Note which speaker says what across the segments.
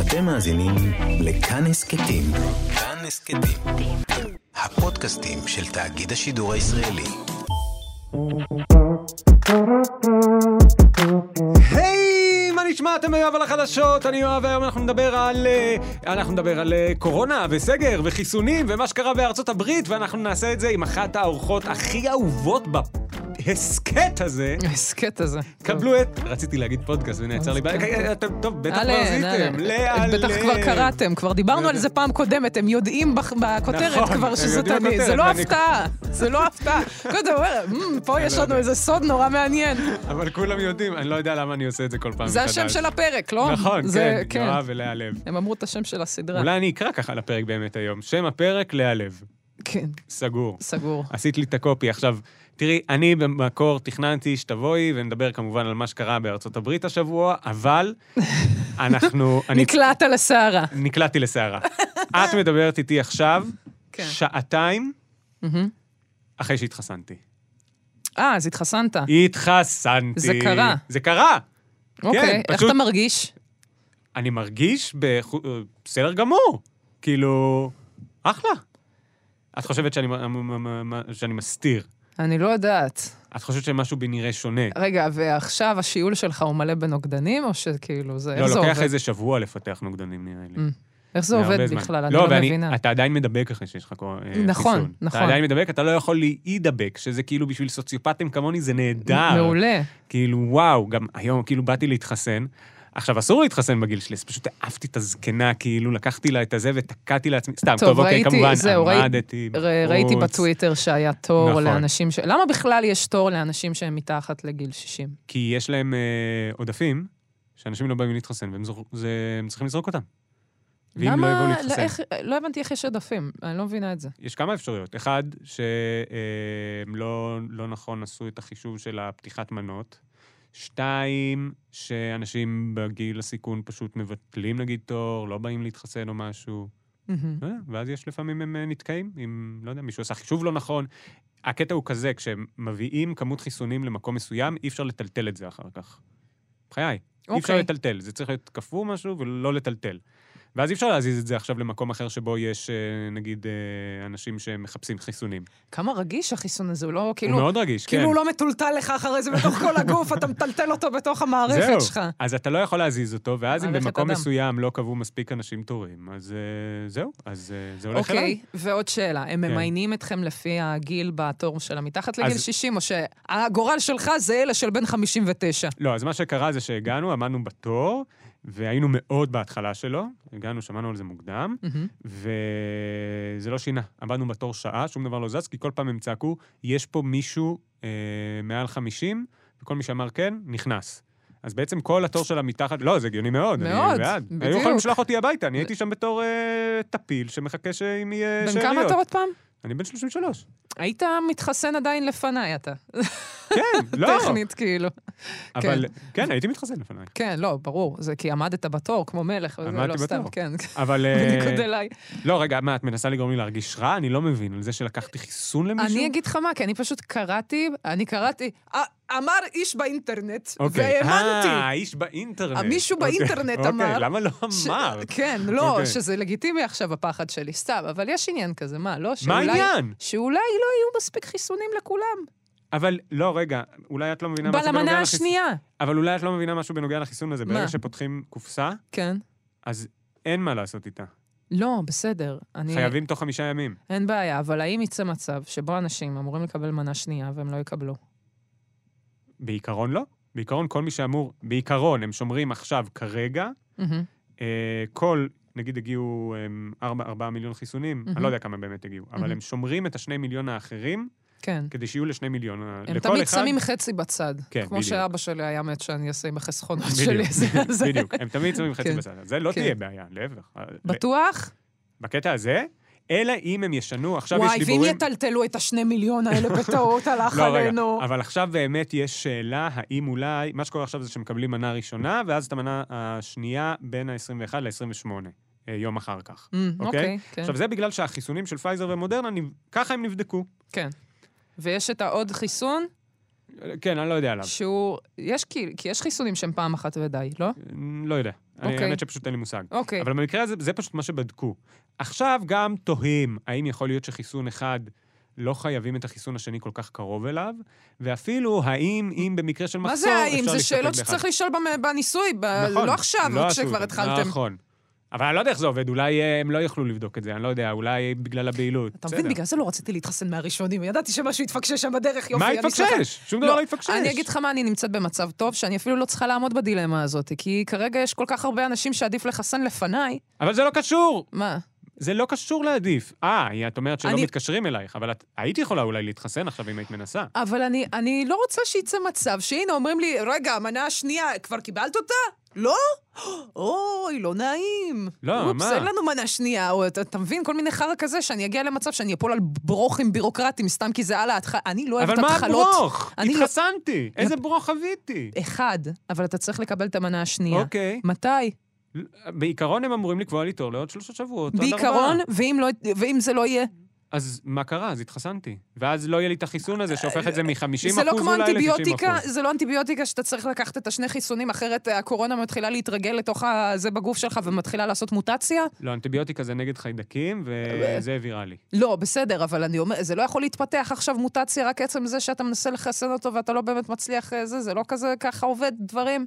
Speaker 1: אתם מאזינים לכאן הסכתים. כאן הסכתים. הפודקאסטים של תאגיד השידור הישראלי.
Speaker 2: היי, מה נשמע? אתם יואב על החדשות, אני יואב, והיום אנחנו נדבר על... אה, אנחנו נדבר על אה, קורונה וסגר וחיסונים ומה שקרה בארצות הברית, ואנחנו נעשה את זה עם אחת האורחות הכי אהובות בהסכת הזה.
Speaker 3: ההסכת הזה.
Speaker 2: קבלו את... רציתי להגיד פודקאסט ונעצר לי... ב-
Speaker 3: אוקיי.
Speaker 2: אתם, טוב, בטח כבר עשיתם. לאה,
Speaker 3: אה, בטח כבר קראתם, כבר דיברנו על זה פעם קודמת, הם יודעים בח- בכותרת
Speaker 2: נכון, הם
Speaker 3: כבר שזאת
Speaker 2: יודעים
Speaker 3: אני. זה
Speaker 2: בכותרת,
Speaker 3: לא
Speaker 2: ואני-
Speaker 3: הפתעה, זה לא הפתעה. כל הזמן אומר, "מ, פה יש לנו איזה סוד נורא מעניין.
Speaker 2: אבל כולם יודעים, אני לא יודע למה אני עושה את זה כל פעם
Speaker 3: זה
Speaker 2: מחדש.
Speaker 3: השם של הפרק, לא?
Speaker 2: נכון,
Speaker 3: זה- אה.
Speaker 2: כן, יואב ולאה לב.
Speaker 3: הם אמרו את השם של הסדרה.
Speaker 2: אולי אני אקרא ככה לפרק באמת היום. שם הפרק, לאה לב.
Speaker 3: כן,
Speaker 2: סגור.
Speaker 3: סגור.
Speaker 2: עשית לי את הקופי. עכשיו, תראי, אני במקור תכננתי שתבואי ונדבר כמובן על מה שקרה בארצות הברית השבוע, אבל אנחנו... אני
Speaker 3: נקלעת לסערה.
Speaker 2: נקלעתי לסערה. את מדברת איתי עכשיו,
Speaker 3: כן.
Speaker 2: שעתיים
Speaker 3: מהמם.
Speaker 2: אחרי שהתחסנתי.
Speaker 3: אה, אז התחסנת.
Speaker 2: כן, התחסנתי.
Speaker 3: זה קרה.
Speaker 2: זה קרה.
Speaker 3: אוקיי, איך
Speaker 2: פשוט-
Speaker 3: אתה מרגיש?
Speaker 2: אני מרגיש בחו- בסדר גמור. כאילו, אחלה. את חושבת שאני, מ- מ- מ- שאני מסתיר.
Speaker 3: אני לא יודעת.
Speaker 2: את חושבת שמשהו בי נראה שונה.
Speaker 3: רגע, ועכשיו השיעול שלך הוא מלא בנוגדנים, או שכאילו, זה, איך
Speaker 2: לא,
Speaker 3: זה
Speaker 2: לוקח
Speaker 3: עובד?
Speaker 2: איזה שבוע לפתח נוגדנים, נראה לי.
Speaker 3: Mm, איך זה
Speaker 2: הרבה
Speaker 3: עובד
Speaker 2: זמן.
Speaker 3: בכלל? אני לא
Speaker 2: ואני-
Speaker 3: מבינה.
Speaker 2: אתה עדיין מדבק אחרי שיש לך קור- אה, חיסון.
Speaker 3: נכון,
Speaker 2: אתה
Speaker 3: נכון.
Speaker 2: עדיין מדבק, אתה לא יכול להידבק, שזה כאילו בשביל סוציופטים כמוני זה נהדר.
Speaker 3: מעולה.
Speaker 2: כאילו, וואו, גם היום כאילו באתי להתחסן. עכשיו, אסור להתחסן בגיל שלי, אז פשוט העפתי את הזקנה, כאילו, לקחתי לה את הזה ותקעתי לעצמי. סתם,
Speaker 3: טוב,
Speaker 2: טוב, אוקיי,
Speaker 3: ראיתי-
Speaker 2: כמובן,
Speaker 3: זהו, ראי-
Speaker 2: עמדתי
Speaker 3: ר- ראיתי
Speaker 2: בחוץ,
Speaker 3: בטוויטר שהיה תור
Speaker 2: נכון.
Speaker 3: לאנשים ש... למה בכלל יש תור לאנשים שהם מתחת לגיל 60?
Speaker 2: כי יש להם אה, עודפים, שאנשים לא באים להתחסן, והם זור- זה- הם צריכים לזרוק אותם. ואם לא יבואו
Speaker 3: למה... לא,
Speaker 2: להתחסן.
Speaker 3: איך... לא הבנתי איך יש עודפים, אני לא מבינה את זה.
Speaker 2: יש כמה אפשרויות. אחד, שהם לא, לא נכון עשו את החישוב של הפתיחת מנות. שתיים, שאנשים בגיל הסיכון פשוט מבטלים נגיד תור, לא באים להתחסן או משהו.
Speaker 3: מהמם.
Speaker 2: לא יודע, ואז יש לפעמים הם אה, נתקעים, אם, לא יודע, מישהו עשה חישוב לא נכון. הקטע הוא כזה, כשמביאים כמות חיסונים למקום מסוים, אי אפשר לטלטל את זה אחר כך. בחיי. אי אפשר
Speaker 3: אוקיי.
Speaker 2: לטלטל, זה צריך להיות קפוא משהו ולא לטלטל. ואז אי אפשר להזיז את זה עכשיו למקום אחר שבו יש, אה, נגיד, אה, אנשים שמחפשים חיסונים.
Speaker 3: כמה רגיש החיסון הזה, הוא לא
Speaker 2: הוא
Speaker 3: כאילו...
Speaker 2: מאוד רגיש, כן.
Speaker 3: כאילו הוא לא מטולטל לך אחרי זה בתוך כל הגוף, אתה מטלטל אותו בתוך המערכת שלך.
Speaker 2: אז אתה לא יכול להזיז אותו, ואז אם
Speaker 3: מערכת
Speaker 2: במקום
Speaker 3: הדם.
Speaker 2: מסוים לא קבעו מספיק אנשים תורים, אז אה, זהו, אז אה, זה הולך אליי.
Speaker 3: אוקיי, ועוד שאלה, הם
Speaker 2: כן.
Speaker 3: ממיינים אתכם לפי הגיל בתור של המתחת לגיל
Speaker 2: אז-
Speaker 3: 60, או שהגורל שלך זה אלה של בן 59?
Speaker 2: לא, אז מה שקרה זה שהגענו, עמדנו בתור, והיינו מאוד בהתחלה שלו. הגענו, שמענו על זה מוקדם,
Speaker 3: מהמם.
Speaker 2: וזה לא שינה. עמדנו בתור שעה, שום דבר לא זז, כי כל פעם הם צעקו, יש פה מישהו אה, מעל 50, וכל מי שאמר כן, נכנס. אז בעצם כל התור שלה מתחת, לא, זה הגיוני מאוד, אני
Speaker 3: מאוד,
Speaker 2: בעד. היו
Speaker 3: בדיוק.
Speaker 2: יכולים לשלוח אותי הביתה, אני הייתי שם בתור אה, טפיל שמחכה שאם יהיה
Speaker 3: בן
Speaker 2: שאריות.
Speaker 3: כמה אתה עוד פעם?
Speaker 2: אני בן 33.
Speaker 3: היית מתחסן עדיין לפניי אתה.
Speaker 2: כן, לא.
Speaker 3: טכנית, כאילו.
Speaker 2: אבל, כן, הייתי מתחסן לפניי.
Speaker 3: כן, לא, ברור. זה כי עמדת בתור כמו מלך, וזה
Speaker 2: עמדתי
Speaker 3: לא סתם,
Speaker 2: בתור.
Speaker 3: כן.
Speaker 2: אבל... אה,
Speaker 3: בניגוד אליי.
Speaker 2: לא, רגע, מה, את מנסה לגרום לי להרגיש רע? אני לא מבין, על זה שלקחתי חיסון למישהו?
Speaker 3: אני אגיד לך מה, כי אני פשוט קראתי, אני קראתי, "א- אמר איש באינטרנט,
Speaker 2: אוקיי. אה,
Speaker 3: והאמנתי.
Speaker 2: האיש באינטרנט.
Speaker 3: מישהו
Speaker 2: אוקיי,
Speaker 3: באינטרנט
Speaker 2: אוקיי,
Speaker 3: אמר
Speaker 2: למה לא
Speaker 3: ש-
Speaker 2: אמר?
Speaker 3: כן, לא,
Speaker 2: אוקיי.
Speaker 3: שזה לגיטימי עכשיו הפחד שלי, סתם, אבל יש עניין כזה, מה, לא?
Speaker 2: מה
Speaker 3: שאולי-
Speaker 2: העניין?
Speaker 3: שאולי לא יהיו מספיק חיסונים לכולם.
Speaker 2: אבל לא, רגע, אולי את לא מבינה משהו בנוגע
Speaker 3: במנה
Speaker 2: לחיס-
Speaker 3: השנייה.
Speaker 2: אבל אולי את לא מבינה משהו בנוגע לחיסון הזה. ברגע
Speaker 3: מה?
Speaker 2: שפותחים קופסה,
Speaker 3: כן.
Speaker 2: אז אין מה לעשות איתה.
Speaker 3: לא, בסדר. אני...
Speaker 2: חייבים תוך חמישה ימים.
Speaker 3: אין בעיה, אבל האם יצא מצב שבו אנשים אמורים לקבל מנה שנייה והם לא יקבלו?
Speaker 2: בעיקרון לא. בעיקרון, כל מי שאמור, בעיקרון, הם שומרים עכשיו, כרגע,
Speaker 3: מהמם.
Speaker 2: אה, כל, נגיד הגיעו 4, 4 מיליון חיסונים, אני
Speaker 3: מהמם.
Speaker 2: לא יודע כמה באמת הגיעו, אבל
Speaker 3: מהמם.
Speaker 2: הם שומרים את השני מיליון האחרים
Speaker 3: כן.
Speaker 2: כדי שיהיו לשני מיליון.
Speaker 3: הם
Speaker 2: כן, לכל
Speaker 3: תמיד
Speaker 2: אחד-
Speaker 3: שמים חצי בצד.
Speaker 2: כן,
Speaker 3: כמו
Speaker 2: בדיוק.
Speaker 3: שאבא שלי היה מת שאני אעשה עם החסכונות שלי.
Speaker 2: בדיוק,
Speaker 3: זה- זה-
Speaker 2: בדיוק, הם תמיד שמים חצי
Speaker 3: כן.
Speaker 2: בצד. זה לא
Speaker 3: כן.
Speaker 2: תהיה בעיה, להפך.
Speaker 3: בטוח?
Speaker 2: בקטע הזה, אלא אם הם ישנו, עכשיו יש
Speaker 3: וואי, ואם
Speaker 2: דיבורים...
Speaker 3: יטלטלו את השני מיליון האלה בטעות, הלך
Speaker 2: לא, רגע,
Speaker 3: עלינו.
Speaker 2: אבל עכשיו באמת יש שאלה האם אולי, מה שקורה עכשיו זה שמקבלים מנה ראשונה, ואז את המנה השנייה בין ה-21 ל-28, אה, יום אחר כך.
Speaker 3: אמ,
Speaker 2: אוקיי?
Speaker 3: אוקיי, כן.
Speaker 2: עכשיו, זה בגלל שהחיסונים של פייזר ומודרנה, נב- ככה הם נבדקו.
Speaker 3: ויש את העוד חיסון
Speaker 2: כן, אני לא יודע עליו.
Speaker 3: שהוא... יש כאילו... כי יש חיסונים שהם פעם אחת ודי, לא?
Speaker 2: לא יודע. אני-
Speaker 3: אוקיי.
Speaker 2: האמת שפשוט אין לי מושג.
Speaker 3: אוקיי.
Speaker 2: אבל במקרה הזה, זה פשוט מה שבדקו. עכשיו גם תוהים האם יכול להיות שחיסון אחד, לא חייבים את החיסון השני כל כך קרוב אליו, ואפילו האם, אם במקרה של מחסור,
Speaker 3: מה
Speaker 2: אפשר
Speaker 3: זה
Speaker 2: להסתפק
Speaker 3: האם? זה שאלות
Speaker 2: באחד.
Speaker 3: שצריך לשאול במ- בניסוי, ב-
Speaker 2: נכון,
Speaker 3: לא עכשיו,
Speaker 2: לא עשו
Speaker 3: כשכבר
Speaker 2: את זה,
Speaker 3: התחלתם.
Speaker 2: נכון. אבל אני לא יודע איך זה עובד, אולי אה, הם לא יוכלו לבדוק את זה, אני לא יודע, אולי בגלל הבהילות.
Speaker 3: אתה מבין?
Speaker 2: בסדר.
Speaker 3: בגלל זה לא רציתי להתחסן מהראשונים. ידעתי שמשהו יתפקשש שם בדרך, יופי.
Speaker 2: מה
Speaker 3: אני שמחה.
Speaker 2: התפקשש? שום דבר לא התפקשש.
Speaker 3: אני אגיד לך מה, אני נמצאת במצב טוב, שאני אפילו לא צריכה לעמוד בדילמה הזאת, כי כרגע יש כל כך הרבה אנשים שעדיף לחסן לפניי.
Speaker 2: אבל זה לא קשור,
Speaker 3: מה?
Speaker 2: זה לא קשור להעדיף. אה, היא- את אומרת שלא
Speaker 3: אני-
Speaker 2: מתקשרים אלייך, אבל את היית יכולה אולי להתחסן עכשיו אם היית מנסה.
Speaker 3: אבל אני, אני לא רוצה שייצא מצב שהנה אומרים לי, רגע, המנה השנייה, כבר קיבלת אותה? לא? אוי, לא נעים.
Speaker 2: לא,
Speaker 3: אופס,
Speaker 2: מה?
Speaker 3: אין לנו מנה שנייה, או אתה, אתה מבין? כל מיני חרא כזה, שאני אגיע למצב שאני אפול על ברוכים בירוקרטיים סתם כי זה על ההתחלה. אני לא אוהבת
Speaker 2: אבל מה
Speaker 3: התחלות.
Speaker 2: הברוך?
Speaker 3: אני לא...
Speaker 2: התחסנתי. איזה ברוך חוויתי?
Speaker 3: אחד, אבל אתה צריך לקבל את המנה השנייה.
Speaker 2: אוקיי.
Speaker 3: מתי?
Speaker 2: בעיקרון הם אמורים לקבוע לי תור לעוד שלושה שבועות. עוד
Speaker 3: בעיקרון,
Speaker 2: ארבעה.
Speaker 3: ואם, לא, ואם זה לא יהיה?
Speaker 2: אז מה קרה? אז התחסנתי. ואז לא יהיה לי את החיסון הזה שהופך את זה מ-50%
Speaker 3: זה לא כמו
Speaker 2: אולי ל-90%.
Speaker 3: אנטיביוטיקה, זה לא אנטיביוטיקה שאתה צריך לקחת את השני חיסונים, אחרת אה, הקורונה מתחילה להתרגל לתוך זה בגוף שלך ומתחילה לעשות מוטציה?
Speaker 2: לא, אנטיביוטיקה זה נגד חיידקים, וזה ויראלי.
Speaker 3: לא, בסדר, אבל אני אומר, זה לא יכול להתפתח עכשיו מוטציה רק עצם זה שאתה מנסה לחסן אותו ואתה לא באמת מצליח אה, זה, זה לא כזה ככה עובד דברים.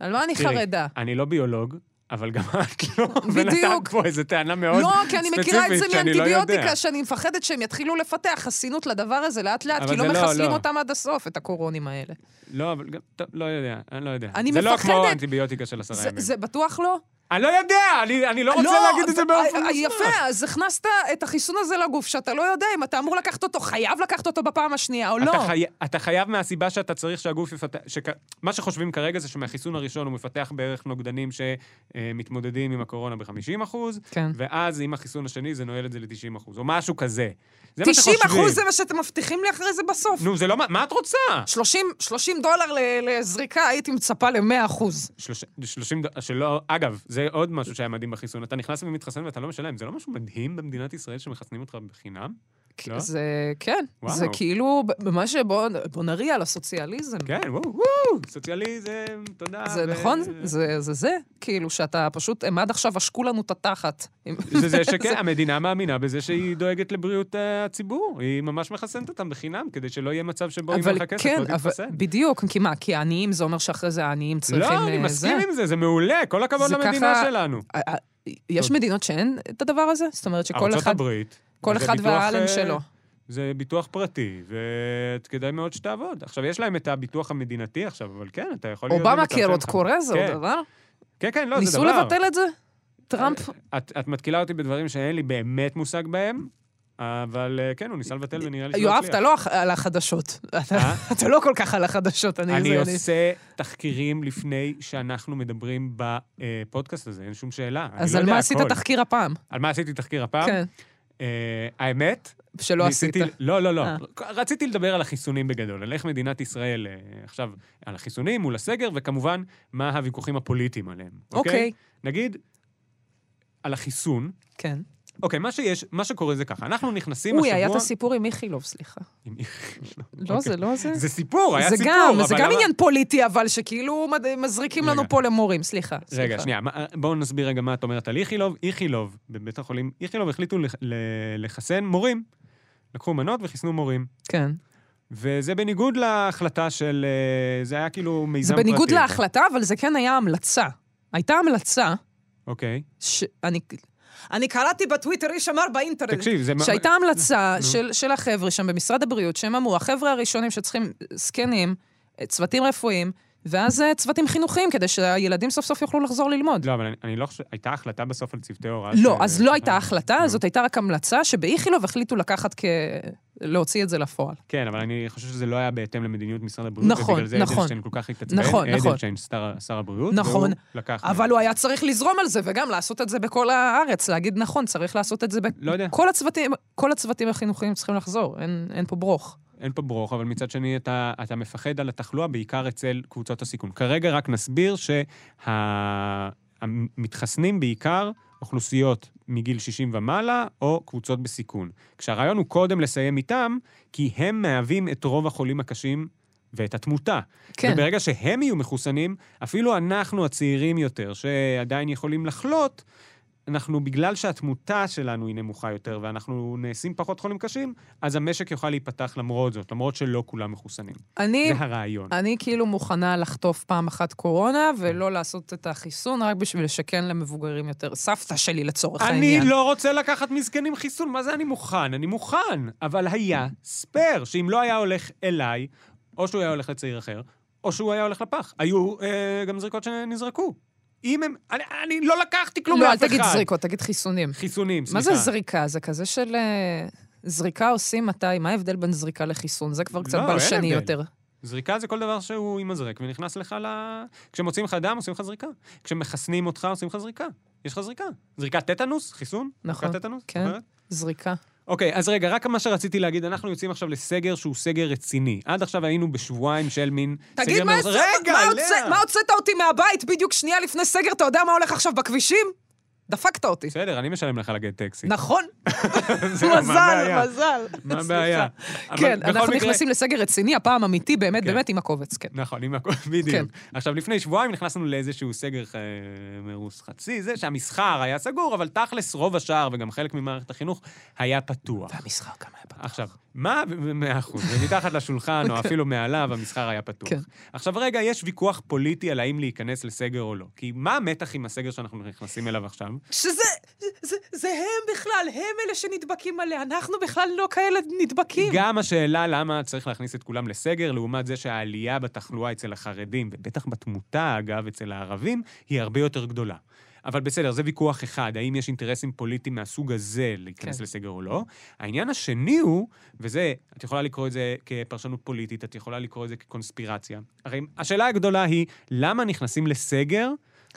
Speaker 3: על מה אני
Speaker 2: תראי,
Speaker 3: חרדה?
Speaker 2: אני לא ביולוג, אבל גם את לא, ונתת
Speaker 3: אה. בדיוק.
Speaker 2: פה איזו טענה מאוד
Speaker 3: לא,
Speaker 2: ספציפית
Speaker 3: כי אני
Speaker 2: שאני לא יודע.
Speaker 3: מכירה את זה מאנטיביוטיקה, שאני מפחדת שהם יתחילו לפתח חסינות לדבר הזה לאט-לאט,
Speaker 2: אבל
Speaker 3: כי לא
Speaker 2: זה לא,
Speaker 3: מחסלים
Speaker 2: לא.
Speaker 3: אותם עד הסוף, את הקורונים האלה.
Speaker 2: לא, אבל גם, טוב, לא יודע, אני לא יודע.
Speaker 3: אני
Speaker 2: זה זה לא כמו
Speaker 3: מפחדת.
Speaker 2: אנטיביוטיקה של עשרה
Speaker 3: זה-
Speaker 2: ימים.
Speaker 3: זה בטוח לא?
Speaker 2: אני לא יודע, אני, אני לא רוצה להגיד את זה באופן
Speaker 3: אה, אה,
Speaker 2: מוסמך.
Speaker 3: יפה, אז הכנסת את החיסון הזה לגוף, שאתה לא יודע אם אתה אמור לקחת אותו, חייב לקחת אותו בפעם השנייה או לא.
Speaker 2: אתה, חי... אתה חייב מהסיבה שאתה צריך שהגוף יפתח... שכ... מה שחושבים כרגע זה שמהחיסון הראשון הוא מפתח בערך נוגדנים שמתמודדים עם הקורונה ב-50 אחוז,
Speaker 3: כן.
Speaker 2: ואז עם החיסון השני זה נועל את זה ל-90 אחוז, או משהו כזה. זה מה
Speaker 3: 90
Speaker 2: שחושבים.
Speaker 3: אחוז זה מה שאתם מבטיחים לי אחרי זה בסוף.
Speaker 2: נו, זה לא... מה- מה את רוצה?
Speaker 3: 30, 30 דולר ל- לזריקה, הייתי מצפה ל-100 אחוז.
Speaker 2: שלוש- 30... ד- שלא... אגב, זה עוד משהו שהיה מדהים בחיסון. אתה נכנס ומתחסן ואתה לא משלם. זה לא משהו מדהים במדינת ישראל שמחסנים אותך בחינם? לא?
Speaker 3: זה, כן,
Speaker 2: וואו.
Speaker 3: זה כאילו, ב- מה שבוא בוא נריע על הסוציאליזם.
Speaker 2: כן, וואו, וואו, סוציאליזם, תודה.
Speaker 3: זה
Speaker 2: ו-
Speaker 3: נכון?
Speaker 2: אה,
Speaker 3: זה זה, זה, כאילו שאתה פשוט, הם עד עכשיו עשקו לנו את התחת.
Speaker 2: זה זה שכן, המדינה מאמינה בזה שהיא דואגת לבריאות אה, הציבור. היא ממש מחסנת אותם בחינם, כדי שלא יהיה מצב שבו אם אין
Speaker 3: אבל
Speaker 2: לך כסף,
Speaker 3: כן,
Speaker 2: לא
Speaker 3: אבל-
Speaker 2: תתחסן.
Speaker 3: בדיוק, כי מה, כי העניים זה אומר שאחרי זה העניים צריכים...
Speaker 2: לא, אני
Speaker 3: אה,
Speaker 2: מסכים
Speaker 3: זה.
Speaker 2: עם זה, זה מעולה, כל הכבוד
Speaker 3: זה
Speaker 2: למדינה
Speaker 3: ככה-
Speaker 2: שלנו.
Speaker 3: אה, אה, יש
Speaker 2: טוב.
Speaker 3: מדינות שאין את הדבר הזה? זאת אומרת שכל
Speaker 2: ארצות
Speaker 3: אחד...
Speaker 2: הברית.
Speaker 3: כל
Speaker 2: זה
Speaker 3: אחד
Speaker 2: ביטוח,
Speaker 3: והאלן
Speaker 2: אה,
Speaker 3: שלו.
Speaker 2: זה ביטוח פרטי, וכדאי מאוד שתעבוד. עכשיו, יש להם את הביטוח המדינתי עכשיו, אבל כן, אתה יכול... להיות-
Speaker 3: אובמה
Speaker 2: למצב
Speaker 3: קר עוד
Speaker 2: שלך.
Speaker 3: קורה, זה
Speaker 2: כן,
Speaker 3: עוד דבר?
Speaker 2: כן, כן, לא, זה
Speaker 3: ניסו
Speaker 2: דבר. אה,
Speaker 3: לבטל את זה? טראמפ?
Speaker 2: את, את מתקילה אותי בדברים שאין לי באמת מושג בהם, אבל אה, כן, הוא ניסה לבטל ונראה לי שהוא
Speaker 3: יואב, אתה לא על החדשות. אתה-
Speaker 2: אה?
Speaker 3: אתה לא כל כך על החדשות, אני...
Speaker 2: אני
Speaker 3: זה-
Speaker 2: עושה תחקירים לפני שאנחנו מדברים בפודקאסט הזה, אין שום שאלה. אני
Speaker 3: אז
Speaker 2: לא
Speaker 3: על
Speaker 2: יודע
Speaker 3: מה עשית
Speaker 2: הכל.
Speaker 3: תחקיר הפעם?
Speaker 2: על מה עשיתי תחקיר הפעם?
Speaker 3: כן,
Speaker 2: אה, האמת?
Speaker 3: שלא עשית.
Speaker 2: ניסיתי- לא, לא, לא.
Speaker 3: אה.
Speaker 2: רציתי לדבר על החיסונים בגדול, על איך מדינת ישראל אה, עכשיו, על החיסונים מול הסגר, וכמובן, מה הוויכוחים הפוליטיים עליהם.
Speaker 3: אוקיי,
Speaker 2: נגיד, על החיסון.
Speaker 3: כן.
Speaker 2: אוקיי, מה שיש, מה שקורה זה ככה, אנחנו נכנסים
Speaker 3: אוי,
Speaker 2: השבוע...
Speaker 3: היה את הסיפור עם איכילוב, סליחה.
Speaker 2: עם-
Speaker 3: לא,
Speaker 2: אוקיי.
Speaker 3: זה לא זה.
Speaker 2: זה סיפור, היה
Speaker 3: זה
Speaker 2: סיפור,
Speaker 3: גם,
Speaker 2: אבל
Speaker 3: זה גם
Speaker 2: למה-
Speaker 3: עניין פוליטי, אבל שכאילו מד- מזריקים לנו
Speaker 2: רגע.
Speaker 3: פה למורים, סליחה.
Speaker 2: רגע,
Speaker 3: סליחה.
Speaker 2: שנייה, מה- בואו נסביר רגע מה את אומרת על איכילוב. איכילוב, בבית החולים, איכילוב החליטו לח- ל- לחסן מורים. לקחו מנות וחיסנו מורים.
Speaker 3: כן.
Speaker 2: וזה בניגוד להחלטה של... אה, זה היה כאילו מיזם
Speaker 3: זה
Speaker 2: פרטי.
Speaker 3: בניגוד להחלטה, אבל זה כן היה המלצה. הייתה המלצה,
Speaker 2: אוקיי.
Speaker 3: שאני... אני קראתי בטוויטר, איש אמר באינטרנט.
Speaker 2: תקשיב, זה... מה- אה,
Speaker 3: שהייתה המלצה
Speaker 2: נו.
Speaker 3: של, של החבר'ה שם במשרד הבריאות, שהם אמרו, החבר'ה הראשונים שצריכים זקנים, אה, צוותים רפואיים, ואז אה, צוותים חינוכיים, כדי שהילדים סוף סוף יוכלו לחזור ללמוד.
Speaker 2: לא, אבל אני- אני לא חושב... הייתה החלטה בסוף על צוותי הוראה?
Speaker 3: לא,
Speaker 2: ש-
Speaker 3: אז לא הייתה החלטה,
Speaker 2: אה, נו.
Speaker 3: זאת הייתה רק המלצה שבאיכילוב החליטו לקחת כ... להוציא את זה לפועל.
Speaker 2: כן, אבל אני חושב שזה לא היה בהתאם למדיניות משרד הבריאות.
Speaker 3: נכון,
Speaker 2: ובגלל זה
Speaker 3: נכון.
Speaker 2: אדלשטיין כל כך התעצבן.
Speaker 3: נכון, נכון.
Speaker 2: אדלשטיין, שר- שר הבריאות.
Speaker 3: נכון.
Speaker 2: והוא לקח...
Speaker 3: אבל הוא היה צריך לזרום על זה, וגם לעשות את זה בכל הארץ, להגיד נכון, צריך לעשות את זה ב...
Speaker 2: לא יודע.
Speaker 3: כל הצוותים, כל הצוותים החינוכיים צריכים לחזור, אין, אין פה ברוך.
Speaker 2: אין פה ברוך, אבל מצד שני אתה, אתה מפחד על התחלואה, בעיקר אצל קבוצות הסיכון. כרגע רק נסביר שהמתחסנים בעיקר אוכלוסיות מגיל 60 ומעלה, או קבוצות בסיכון. כשהרעיון הוא קודם לסיים איתם, כי הם מהווים את רוב החולים הקשים ואת התמותה.
Speaker 3: כן.
Speaker 2: וברגע שהם יהיו מחוסנים, אפילו אנחנו הצעירים יותר, שעדיין יכולים לחלות, אנחנו, בגלל שהתמותה שלנו היא נמוכה יותר ואנחנו נעשים פחות חולים קשים, אז המשק יוכל להיפתח למרות זאת, למרות שלא כולם מחוסנים.
Speaker 3: אני,
Speaker 2: זה הרעיון.
Speaker 3: אני כאילו מוכנה לחטוף פעם אחת קורונה ולא לעשות את החיסון רק בשביל לשכן למבוגרים יותר. סבתא שלי לצורך
Speaker 2: אני
Speaker 3: העניין.
Speaker 2: לא רוצה לקחת מזקנים חיסון, מה זה אני מוכן? אני מוכן, אבל היה ספייר, שאם לא היה הולך אליי, או שהוא היה הולך לצעיר אחר, או שהוא היה הולך לפח. היו אה, גם זריקות שנזרקו. אם הם... אני, אני לא לקחתי כלום
Speaker 3: לא, אל
Speaker 2: מאף אחד.
Speaker 3: תגיד זריקות, תגיד חיסונים.
Speaker 2: חיסונים, סליחה.
Speaker 3: מה זה זריקה? זה כזה של... אה, זריקה עושים מתי? מה ההבדל בין זריקה לחיסון? זה כבר קצת
Speaker 2: לא, אין
Speaker 3: בלשני
Speaker 2: הבדל.
Speaker 3: יותר.
Speaker 2: זריקה זה כל דבר שהוא עם הזרק, ונכנס לך ל... כשמוציאים לך דם, עושים לך זריקה. כשמחסנים אותך, עושים לך זריקה. יש לך זריקה. זריקת טטנוס, חיסון?
Speaker 3: נכון,
Speaker 2: זריקת טטנוס,
Speaker 3: כן.
Speaker 2: זוכרת?
Speaker 3: זריקה.
Speaker 2: אוקיי, אז רגע, רק מה שרציתי להגיד, אנחנו יוצאים עכשיו לסגר שהוא סגר רציני. עד עכשיו היינו בשבועיים של מין סגר...
Speaker 3: תגיד, מה
Speaker 2: מרס-
Speaker 3: הוצאת-
Speaker 2: רגע,
Speaker 3: מה
Speaker 2: לאה!
Speaker 3: הוצאת- מה הוצאת אותי מהבית בדיוק שנייה לפני סגר? אתה יודע מה הולך עכשיו בכבישים? דפקת אותי.
Speaker 2: בסדר, אני משלם לך לגד טקסי.
Speaker 3: נכון?
Speaker 2: זה, מה
Speaker 3: מזל,
Speaker 2: הבעיה?
Speaker 3: מזל.
Speaker 2: מה
Speaker 3: סליחה.
Speaker 2: הבעיה? אבל
Speaker 3: כן,
Speaker 2: בכל
Speaker 3: אנחנו
Speaker 2: מקרה-
Speaker 3: נכנסים לסגר רציני, הפעם אמיתי, באמת,
Speaker 2: כן.
Speaker 3: באמת עם הקובץ, כן.
Speaker 2: נכון, עם הכל, בדיוק. עכשיו, לפני שבועיים נכנסנו לאיזשהו סגר אה, מרוס חצי, זה שהמסחר היה סגור, אבל תכלס רוב השאר וגם חלק ממערכת החינוך היה פתוח.
Speaker 3: והמסחר גם היה פתוח.
Speaker 2: עכשיו, מה, ו- ו- מאה אחוז, ומתחת לשולחן או אפילו מעליו, המסחר היה פתוח.
Speaker 3: כן.
Speaker 2: עכשיו רגע, יש ויכוח פוליטי על האם להיכנס לסגר או לא. כי מה המתח עם הסגר שאנחנו נכנסים אליו עכשיו?
Speaker 3: שזה, זה, זה הם בכלל, הם אלה שנדבקים עליה, אנחנו בכלל לא כאלה נדבקים.
Speaker 2: גם השאלה למה צריך להכניס את כולם לסגר, לעומת זה שהעלייה בתחלואה אצל החרדים, ובטח בתמותה, אגב, אצל הערבים, היא הרבה יותר גדולה. אבל בסדר, זה ויכוח אחד, האם יש אינטרסים פוליטיים מהסוג הזה להיכנס
Speaker 3: כן.
Speaker 2: כן. לסגר או לא. העניין השני הוא, וזה, את יכולה לקרוא את זה כפרשנות פוליטית, את יכולה לקרוא את זה כקונספירציה. הרי השאלה הגדולה היא, למה נכנסים לסגר?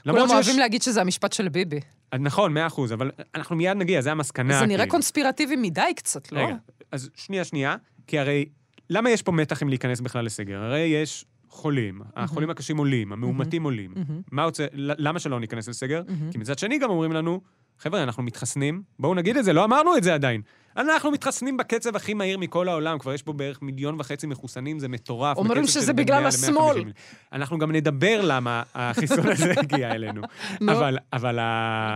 Speaker 3: כולם אוהבים להגיד שזה המשפט של ביבי.
Speaker 2: נכון, מאה אחוז, אבל אנחנו מיד נגיע, זה המסקנה.
Speaker 3: זה נראה
Speaker 2: כאילו.
Speaker 3: קונספירטיבי מדי קצת, לא?
Speaker 2: רגע, אז שנייה, שנייה, כי הרי, למה יש פה מתח אם להיכנס בכלל לסגר? הרי יש חולים, החולים הקשים עולים, המאומתים עולים.
Speaker 3: מהמם.
Speaker 2: מה רוצה, ל- למה שלא ניכנס לסגר?
Speaker 3: מהמם.
Speaker 2: כי מצד שני גם אומרים לנו, חבר'ה, אנחנו מתחסנים, בואו נגיד את זה, לא אמרנו את זה עדיין. אנחנו מתחסנים בקצב הכי מהיר מכל העולם, כבר יש פה בערך מיליון וחצי מחוסנים, זה מטורף.
Speaker 3: אומרים
Speaker 2: בקצב של
Speaker 3: שזה
Speaker 2: בין
Speaker 3: בגלל
Speaker 2: 100 ל- 150
Speaker 3: השמאל.
Speaker 2: מיליון. אנחנו גם נדבר למה החיסון הזה הגיע אלינו.
Speaker 3: נו.
Speaker 2: אבל, אבל ה...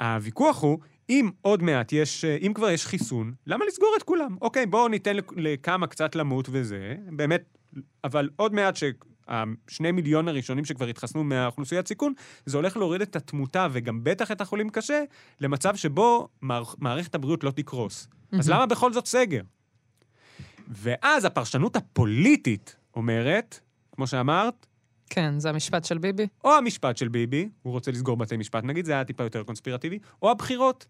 Speaker 2: הוויכוח הוא, אם עוד מעט יש, אם כבר יש חיסון, למה לסגור את כולם? אוקיי, בואו ניתן לכ- לכמה קצת למות וזה, באמת, אבל עוד מעט שהשני מיליון הראשונים שכבר התחסנו מהאוכלוסיית סיכון, זה הולך להוריד את התמותה וגם בטח את החולים קשה, למצב שבו מערכ- מערכת הבריאות לא תקרוס. אז למה בכל זאת סגר? ואז הפרשנות הפוליטית אומרת, כמו שאמרת,
Speaker 3: כן, זה המשפט של ביבי.
Speaker 2: או המשפט של ביבי, הוא רוצה לסגור בתי משפט נגיד, זה היה טיפה יותר קונספירטיבי, או הבחירות.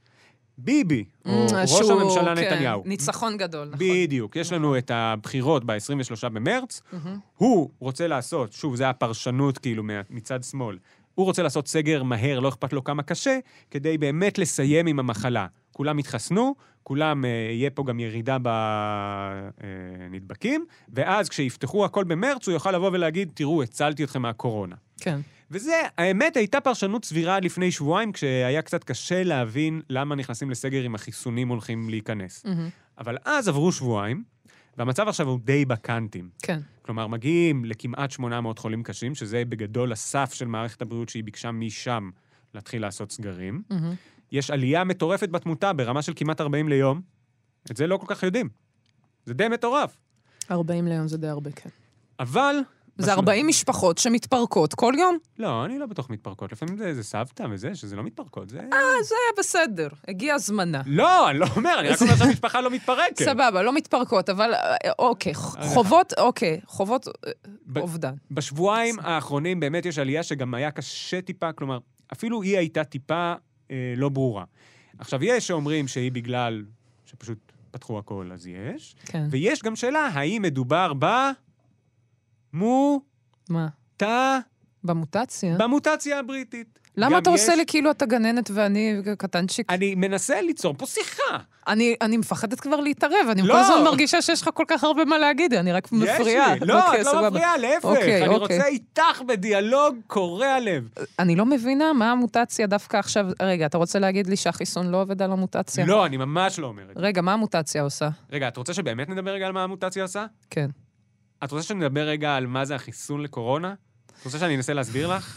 Speaker 2: ביבי, או ראש
Speaker 3: שהוא-
Speaker 2: הממשלה
Speaker 3: Mm, כן,
Speaker 2: נתניהו.
Speaker 3: ניצחון גדול, נכון.
Speaker 2: בדיוק, יש לנו את הבחירות ב-23 במרץ,
Speaker 3: מהמם.
Speaker 2: הוא רוצה לעשות, שוב, זה הפרשנות כאילו מה- מצד שמאל, הוא רוצה לעשות סגר מהר, לא אכפת לו כמה קשה, כדי באמת לסיים עם המחלה. כולם יתחסנו, כולם, אה, יהיה פה גם ירידה בנדבקים, ואז כשיפתחו הכל במרץ, הוא יוכל לבוא ולהגיד, תראו, הצלתי אתכם מהקורונה.
Speaker 3: כן.
Speaker 2: וזה, האמת, הייתה פרשנות סבירה עד לפני שבועיים, כשהיה קצת קשה להבין למה נכנסים לסגר אם החיסונים הולכים להיכנס.
Speaker 3: מהמם.
Speaker 2: אבל אז עברו שבועיים, והמצב עכשיו הוא די בקאנטים.
Speaker 3: כן.
Speaker 2: כלומר, מגיעים לכמעט 800 חולים קשים, שזה בגדול הסף של מערכת הבריאות שהיא ביקשה משם להתחיל לעשות סגרים.
Speaker 3: מהמם.
Speaker 2: יש עלייה מטורפת בתמותה ברמה של כמעט 40 ליום. את זה לא כל כך יודעים. זה די מטורף.
Speaker 3: 40 ליום זה די הרבה, כן.
Speaker 2: אבל...
Speaker 3: זה
Speaker 2: בשנה-
Speaker 3: 40 משפחות שמתפרקות כל יום?
Speaker 2: לא, אני לא בתוך מתפרקות. לפעמים זה, זה סבתא וזה, שזה לא מתפרקות, זה...
Speaker 3: אה, זה היה בסדר, הגיע זמנה.
Speaker 2: לא, אני לא אומר, אני רק אומר שהמשפחה לא מתפרקת.
Speaker 3: סבבה, לא מתפרקות, אבל אה, אוקיי,
Speaker 2: אה,
Speaker 3: חובות, אוקיי, חובות אה,
Speaker 2: ב-
Speaker 3: אובדן.
Speaker 2: בשבועיים האחרונים באמת יש עלייה שגם היה קשה טיפה, כלומר, אפילו היא הייתה טיפה אה, לא ברורה. עכשיו, יש שאומרים שהיא בגלל שפשוט פתחו הכל, אז יש,
Speaker 3: כן,
Speaker 2: ויש גם שאלה האם מדובר ב...
Speaker 3: מה?
Speaker 2: מוטה
Speaker 3: במוטציה?
Speaker 2: במוטציה הבריטית.
Speaker 3: למה
Speaker 2: גם
Speaker 3: אתה עושה
Speaker 2: יש-
Speaker 3: לי כאילו אתה גננת ואני קטנצ'יק?
Speaker 2: אני מנסה ליצור פה שיחה.
Speaker 3: אני, אני מפחדת כבר להתערב, אני
Speaker 2: לא.
Speaker 3: כל הזמן מרגישה שיש לך כל כך הרבה מה להגיד, אני רק
Speaker 2: יש
Speaker 3: מפריעה.
Speaker 2: לי. לא,
Speaker 3: אוקיי,
Speaker 2: את לא
Speaker 3: סבבה.
Speaker 2: מפריעה, להפך.
Speaker 3: אוקיי,
Speaker 2: אני
Speaker 3: אוקיי.
Speaker 2: רוצה איתך בדיאלוג קורע לב.
Speaker 3: אני לא מבינה מה המוטציה דווקא עכשיו... רגע, אתה רוצה להגיד לי שהחיסון לא עובד על המוטציה?
Speaker 2: לא, אני ממש לא אומר את זה.
Speaker 3: רגע, מה המוטציה עושה?
Speaker 2: רגע, את רוצה שבאמת נדבר רגע על מה המוטציה עושה?
Speaker 3: כן.
Speaker 2: את רוצה שנדבר רגע על מה זה החיסון לקורונה? את רוצה שאני אנסה להסביר לך?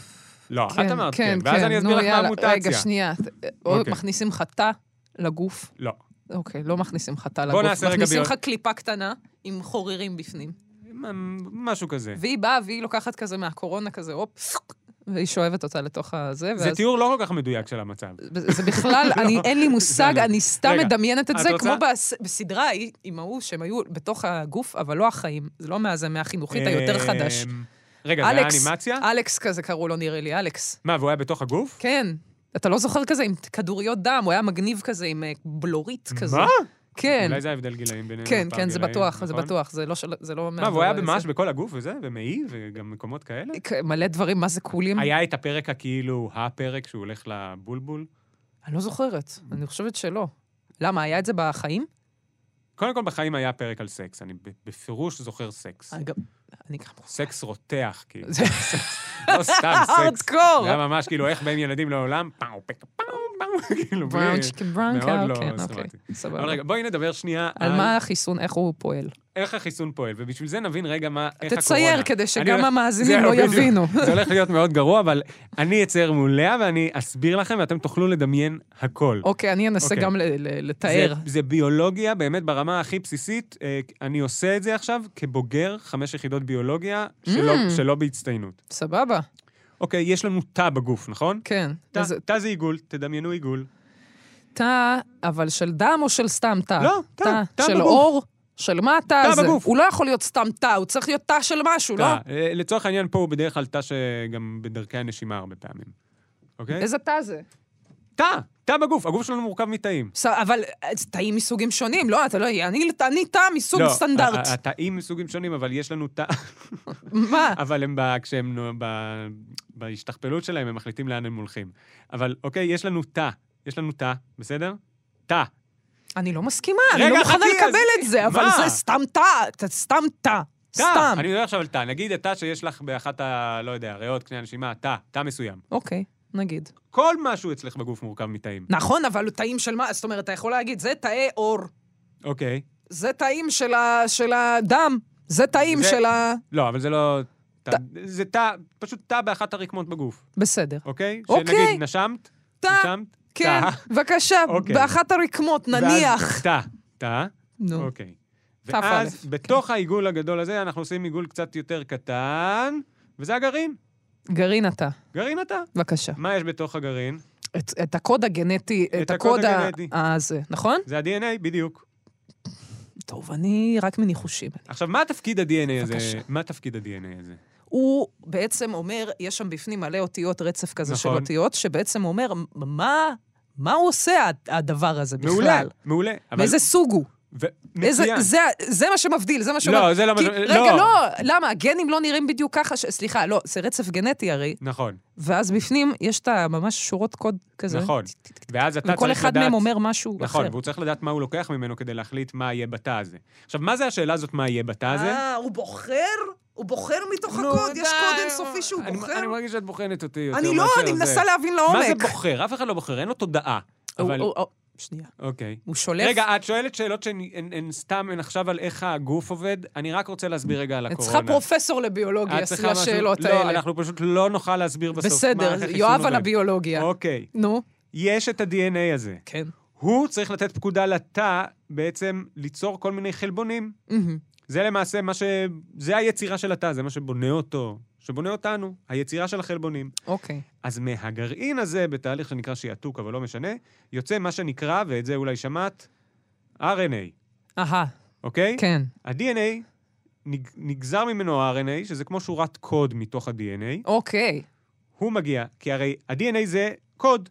Speaker 2: לא, את אמרת כן, ואז אני אסביר
Speaker 3: נו,
Speaker 2: לך מה
Speaker 3: יאללה,
Speaker 2: המוטציה.
Speaker 3: רגע, שנייה. או
Speaker 2: אוקיי.
Speaker 3: מכניסים חטא לגוף.
Speaker 2: לא.
Speaker 3: אוקיי, לא מכניסים חטא לגוף.
Speaker 2: בוא נעשה רגע
Speaker 3: מכניסים
Speaker 2: ביו- אוקיי.
Speaker 3: לך קליפה קטנה עם חורירים בפנים.
Speaker 2: מ- משהו כזה.
Speaker 3: והיא באה והיא לוקחת כזה מהקורונה כזה, הופ, והיא שואבת אותה לתוך הזה,
Speaker 2: זה
Speaker 3: ואז...
Speaker 2: תיאור לא כל כך מדויק של המצב.
Speaker 3: זה בכלל, אני, אין לי מושג,
Speaker 2: לא.
Speaker 3: אני סתם
Speaker 2: רגע, את
Speaker 3: מדמיינת את זה,
Speaker 2: רוצה?
Speaker 3: כמו בס- בסדרה ההיא עם ההוא, שהם היו בתוך הגוף, אבל לא החיים. זה לא מהזה, מהחינוכית היותר חדש.
Speaker 2: אמ, רגע, זה היה
Speaker 3: אלכס,
Speaker 2: אנימציה?
Speaker 3: אלכס כזה קראו לו, נראה לי, אלכס.
Speaker 2: מה, והוא היה בתוך הגוף?
Speaker 3: כן. אתה לא זוכר כזה עם כדוריות דם, הוא היה מגניב כזה עם אה, בלורית כזה.
Speaker 2: מה?
Speaker 3: כן,
Speaker 2: אולי זה ההבדל גילאים בינינו.
Speaker 3: כן,
Speaker 2: הפער
Speaker 3: כן, זה
Speaker 2: גילאים,
Speaker 3: בטוח, זה
Speaker 2: נכון?
Speaker 3: בטוח, זה לא של- זה לא...
Speaker 2: מה, והוא היה
Speaker 3: מהדור
Speaker 2: ממש
Speaker 3: הזה.
Speaker 2: בכל הגוף וזה, ומעי, וגם מקומות כאלה?
Speaker 3: כ- מלא דברים, מה זה קולים?
Speaker 2: היה את הפרק הכאילו, הפרק שהוא הולך לבולבול?
Speaker 3: אני לא זוכרת, אני חושבת שלא. למה, היה את זה בחיים?
Speaker 2: קודם כל, בחיים היה פרק על סקס, אני ב- בפירוש זוכר סקס.
Speaker 3: אני גם... אני גם... לא
Speaker 2: סקס רותח, כאילו.
Speaker 3: זה-
Speaker 2: לא סתם סקס.
Speaker 3: הארדקור!
Speaker 2: זה היה ממש כאילו, איך בין ילדים לעולם, פאו, פק, פאו, פאו, כאילו, בלי...
Speaker 3: בראון צ'יקן ברנקה,
Speaker 2: מאוד לא
Speaker 3: כן, אוקיי,
Speaker 2: סמנטי.
Speaker 3: סבבה.
Speaker 2: אבל רגע, בואי נדבר שנייה
Speaker 3: על מה החיסון, איך הוא פועל.
Speaker 2: איך החיסון פועל, ובשביל זה נבין רגע מה, איך הקורונה.
Speaker 3: תצייר כדי
Speaker 2: אני
Speaker 3: שגם
Speaker 2: הולך-
Speaker 3: המאזינים
Speaker 2: זהו,
Speaker 3: לא
Speaker 2: בדיוק.
Speaker 3: יבינו.
Speaker 2: זה הולך להיות מאוד גרוע, אבל אני אצייר מוליה ואני אסביר לכם ואתם תוכלו לדמיין הכל.
Speaker 3: אוקיי, אני אנסה
Speaker 2: אוקיי.
Speaker 3: גם ל- ל- לתאר.
Speaker 2: זה, זה ביולוגיה באמת ברמה הכי בסיסית. אה, אני עושה את זה עכשיו כבוגר חמש יחידות ביולוגיה שלא,
Speaker 3: Mm.
Speaker 2: שלא בהצטיינות.
Speaker 3: סבבה,
Speaker 2: אוקיי, יש לנו תא בגוף, נכון?
Speaker 3: כן.
Speaker 2: תא,
Speaker 3: אז
Speaker 2: תא זה עיגול, תדמיינו עיגול.
Speaker 3: תא, אבל של דם או של סתם אה, תא?
Speaker 2: לא, תא, תא
Speaker 3: של
Speaker 2: בגוף.
Speaker 3: אור? של מה התא
Speaker 2: תא
Speaker 3: הזה?
Speaker 2: בגוף.
Speaker 3: הוא לא יכול להיות סתם תא, הוא צריך להיות תא של משהו, לא?
Speaker 2: תא. אה, לצורך העניין, פה הוא בדרך כלל תא שגם בדרכי הנשימה הרבה פעמים. אוקיי?
Speaker 3: איזה תא זה?
Speaker 2: תא, תא בגוף, הגוף שלנו מורכב מתאים.
Speaker 3: ס- אבל אה, זה תאים מסוגים שונים, לא, אתה לא... אני אני תא מסוג סטנדרט.
Speaker 2: לא, ה- ה- התאים מסוגים שונים, אבל יש לנו תא, אה.
Speaker 3: מה?
Speaker 2: אבל הם, ב- כשהם, נו- ב- בהשתכפלות שלהם, הם מחליטים לאן הם הולכים. אבל אוקיי, יש לנו תא, יש לנו תא, בסדר? תא.
Speaker 3: אני לא מסכימה, אני
Speaker 2: רגע,
Speaker 3: לא מוכנה
Speaker 2: חכי, אז-
Speaker 3: לקבל את זה, אבל
Speaker 2: מה?
Speaker 3: זה סתם תא, ת- סתם תא.
Speaker 2: תא.
Speaker 3: סתם.
Speaker 2: אני מדבר עכשיו על תא. נגיד התא שיש לך באחת ה... לא יודע, ריאות, קנה הנשימה, תא, תא מסוים.
Speaker 3: אוקיי, נגיד.
Speaker 2: כל משהו אצלך בגוף מורכב מתאים.
Speaker 3: נכון, אבל תאים של מה? זאת אומרת, אתה יכול להגיד, זה תאי אור,
Speaker 2: אוקיי.
Speaker 3: זה תאים של, ה... של הדם, זה תאים
Speaker 2: זה-
Speaker 3: של ה...
Speaker 2: לא, אבל זה לא... תא.
Speaker 3: תא.
Speaker 2: זה תא, פשוט תא באחת הרקמות בגוף,
Speaker 3: בסדר.
Speaker 2: אוקיי?
Speaker 3: אוקיי.
Speaker 2: שנגיד, נשמת?
Speaker 3: תא,
Speaker 2: נשמת?
Speaker 3: כן,
Speaker 2: תא.
Speaker 3: בבקשה,
Speaker 2: אוקיי.
Speaker 3: באחת הרקמות, נניח.
Speaker 2: ואז תא. תא.
Speaker 3: נו,
Speaker 2: אוקיי.
Speaker 3: תא
Speaker 2: ואז
Speaker 3: פאלף,
Speaker 2: בתוך העיגול הגדול הזה אנחנו עושים עיגול קצת יותר קטן, וזה הגרעין.
Speaker 3: גרעין אתה,
Speaker 2: גרעין התא.
Speaker 3: בבקשה.
Speaker 2: מה יש בתוך הגרעין?
Speaker 3: את, את הקוד הגנטי, את,
Speaker 2: את הקוד
Speaker 3: הקוד ה-
Speaker 2: הגנטי.
Speaker 3: הזה, נכון?
Speaker 2: זה ה-DNA, בדיוק.
Speaker 3: טוב, אני רק מניחושים.
Speaker 2: עכשיו, מה תפקיד ה-DNA הזה?
Speaker 3: בבקשה.
Speaker 2: מה תפקיד ה-DNA הזה?
Speaker 3: הוא בעצם אומר, יש שם בפנים מלא אותיות, רצף כזה של
Speaker 2: נכון.
Speaker 3: אותיות, שבעצם אומר, מה, מה הוא עושה, הד- הדבר הזה בכלל?
Speaker 2: מעולה, מעולה. אבל-
Speaker 3: מאיזה סוג הוא?
Speaker 2: ו-
Speaker 3: איזה,
Speaker 2: מצוין.
Speaker 3: זה, זה מה שמבדיל, זה מה שאומר.
Speaker 2: לא, זה לא מה
Speaker 3: כי-
Speaker 2: ש-
Speaker 3: רגע,
Speaker 2: לא.
Speaker 3: לא, למה? הגנים לא נראים בדיוק ככה, ש... סליחה, לא, זה רצף גנטי הרי,
Speaker 2: נכון,
Speaker 3: ואז בפנים יש את ממש שורות קוד כזה.
Speaker 2: נכון. ואז אתה צריך לדעת...
Speaker 3: וכל אחד מהם אומר משהו
Speaker 2: נכון,
Speaker 3: אחר.
Speaker 2: והוא צריך לדעת מה הוא לוקח ממנו כדי להחליט מה יהיה בתא הזה. עכשיו, מה זה השאלה הזאת, מה יהיה בתא הזה?
Speaker 3: אה, הוא בוחר? הוא בוחר מתוך
Speaker 2: נו,
Speaker 3: הקוד? יש
Speaker 2: די,
Speaker 3: קוד אינסופי שהוא
Speaker 2: אני-
Speaker 3: בוחר?
Speaker 2: אני מרגיש שאת בוחנת אותי יותר
Speaker 3: אני לא,
Speaker 2: מאשר
Speaker 3: אני
Speaker 2: זה.
Speaker 3: מנסה להבין לעומק.
Speaker 2: מה זה בוחר? אף אחד לא בוחר, אין לו תודעה.
Speaker 3: הוא-
Speaker 2: אבל...
Speaker 3: הוא- הוא- שנייה.
Speaker 2: אוקיי.
Speaker 3: הוא שולף...
Speaker 2: רגע, את שואלת שאלות שהן הן- הן סתם, הן עכשיו על איך הגוף עובד? אני רק רוצה להסביר רגע על
Speaker 3: את
Speaker 2: הקורונה.
Speaker 3: צריכה פרופסור
Speaker 2: את
Speaker 3: לביולוגיה,
Speaker 2: צריכה
Speaker 3: סליחה
Speaker 2: משהו-
Speaker 3: השאלות
Speaker 2: לא,
Speaker 3: האלה.
Speaker 2: אנחנו פשוט לא נוכל להסביר בסוף מה- איך
Speaker 3: בסדר,
Speaker 2: החיסון
Speaker 3: יואב
Speaker 2: עובד.
Speaker 3: על הביולוגיה.
Speaker 2: אוקיי.
Speaker 3: נו,
Speaker 2: יש את ה-DNA הזה.
Speaker 3: כן.
Speaker 2: הוא צריך לתת פקודה לתא בעצם ליצור כל מיני חלבונים.
Speaker 3: מהמם.
Speaker 2: זה למעשה מה ש... זה היצירה של התא, זה מה שבונה אותו, שבונה אותנו, היצירה של החלבונים.
Speaker 3: אוקיי.
Speaker 2: אז מהגרעין הזה, בתהליך שנקרא שיעתוק, אבל לא משנה, יוצא מה שנקרא, ואת זה אולי שמעת, RNA,
Speaker 3: אהה,
Speaker 2: אוקיי?
Speaker 3: כן.
Speaker 2: ה-DNA, נג- נגזר ממנו ה-RNA, שזה כמו שורת קוד מתוך ה-DNA,
Speaker 3: אוקיי.
Speaker 2: הוא מגיע, כי הרי ה-DNA זה קוד.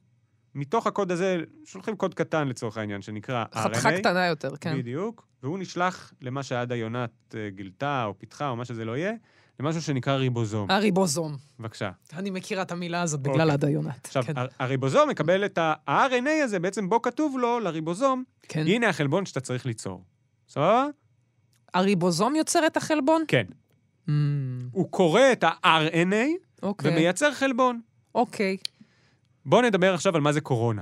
Speaker 2: מתוך הקוד הזה שולחים קוד קטן לצורך העניין, שנקרא RNA.
Speaker 3: חתיכה קטנה יותר, כן.
Speaker 2: אה, בדיוק, והוא נשלח למה שעדה יונת אה, גילתה או פיתחה או מה שזה לא יהיה, למשהו שנקרא ריבוזום.
Speaker 3: אה, הריבוזום.
Speaker 2: בבקשה.
Speaker 3: אני מכירה את המילה הזאת
Speaker 2: אוקיי.
Speaker 3: בגלל עדה יונת.
Speaker 2: עכשיו,
Speaker 3: כן,
Speaker 2: הר- הריבוזום מקבל את ה-RNA הזה, בעצם בו כתוב לו, לריבוזום,
Speaker 3: כן.
Speaker 2: הנה החלבון שאתה צריך ליצור. סבבה?
Speaker 3: הריבוזום יוצר את החלבון?
Speaker 2: כן.
Speaker 3: אמ,
Speaker 2: הוא קורא את ה-RNA
Speaker 3: אוקיי.
Speaker 2: ומייצר חלבון.
Speaker 3: אוקיי.
Speaker 2: בואו נדבר עכשיו על מה זה קורונה,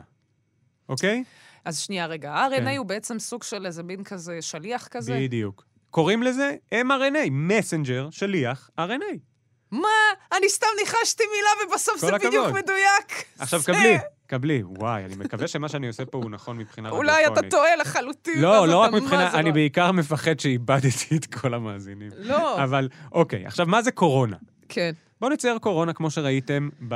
Speaker 2: אוקיי?
Speaker 3: אז שנייה, רגע. ה-RNA
Speaker 2: כן.
Speaker 3: הוא בעצם סוג של איזה מין כזה שליח כזה?
Speaker 2: בדיוק. קוראים לזה mRNA, מסנג'ר, שליח RNA.
Speaker 3: מה? אה, אני סתם ניחשתי מילה ובסוף
Speaker 2: כל
Speaker 3: זה בדיוק
Speaker 2: הכבוד.
Speaker 3: מדויק.
Speaker 2: עכשיו
Speaker 3: זה-
Speaker 2: קבלי, קבלי. וואי, אני מקווה שמה שאני עושה פה הוא נכון מבחינה
Speaker 3: אולי אתה
Speaker 2: רדיופונית.
Speaker 3: טועה לחלוטין.
Speaker 2: לא,
Speaker 3: אז
Speaker 2: לא רק
Speaker 3: אתה- מה
Speaker 2: מבחינה,
Speaker 3: זה
Speaker 2: אני
Speaker 3: לא-
Speaker 2: בעיקר מפחד שאיבדתי את כל המאזינים.
Speaker 3: לא,
Speaker 2: אבל, אוקיי, עכשיו, מה זה קורונה?
Speaker 3: כן.
Speaker 2: בואו נצייר קורונה כמו שראיתם ב...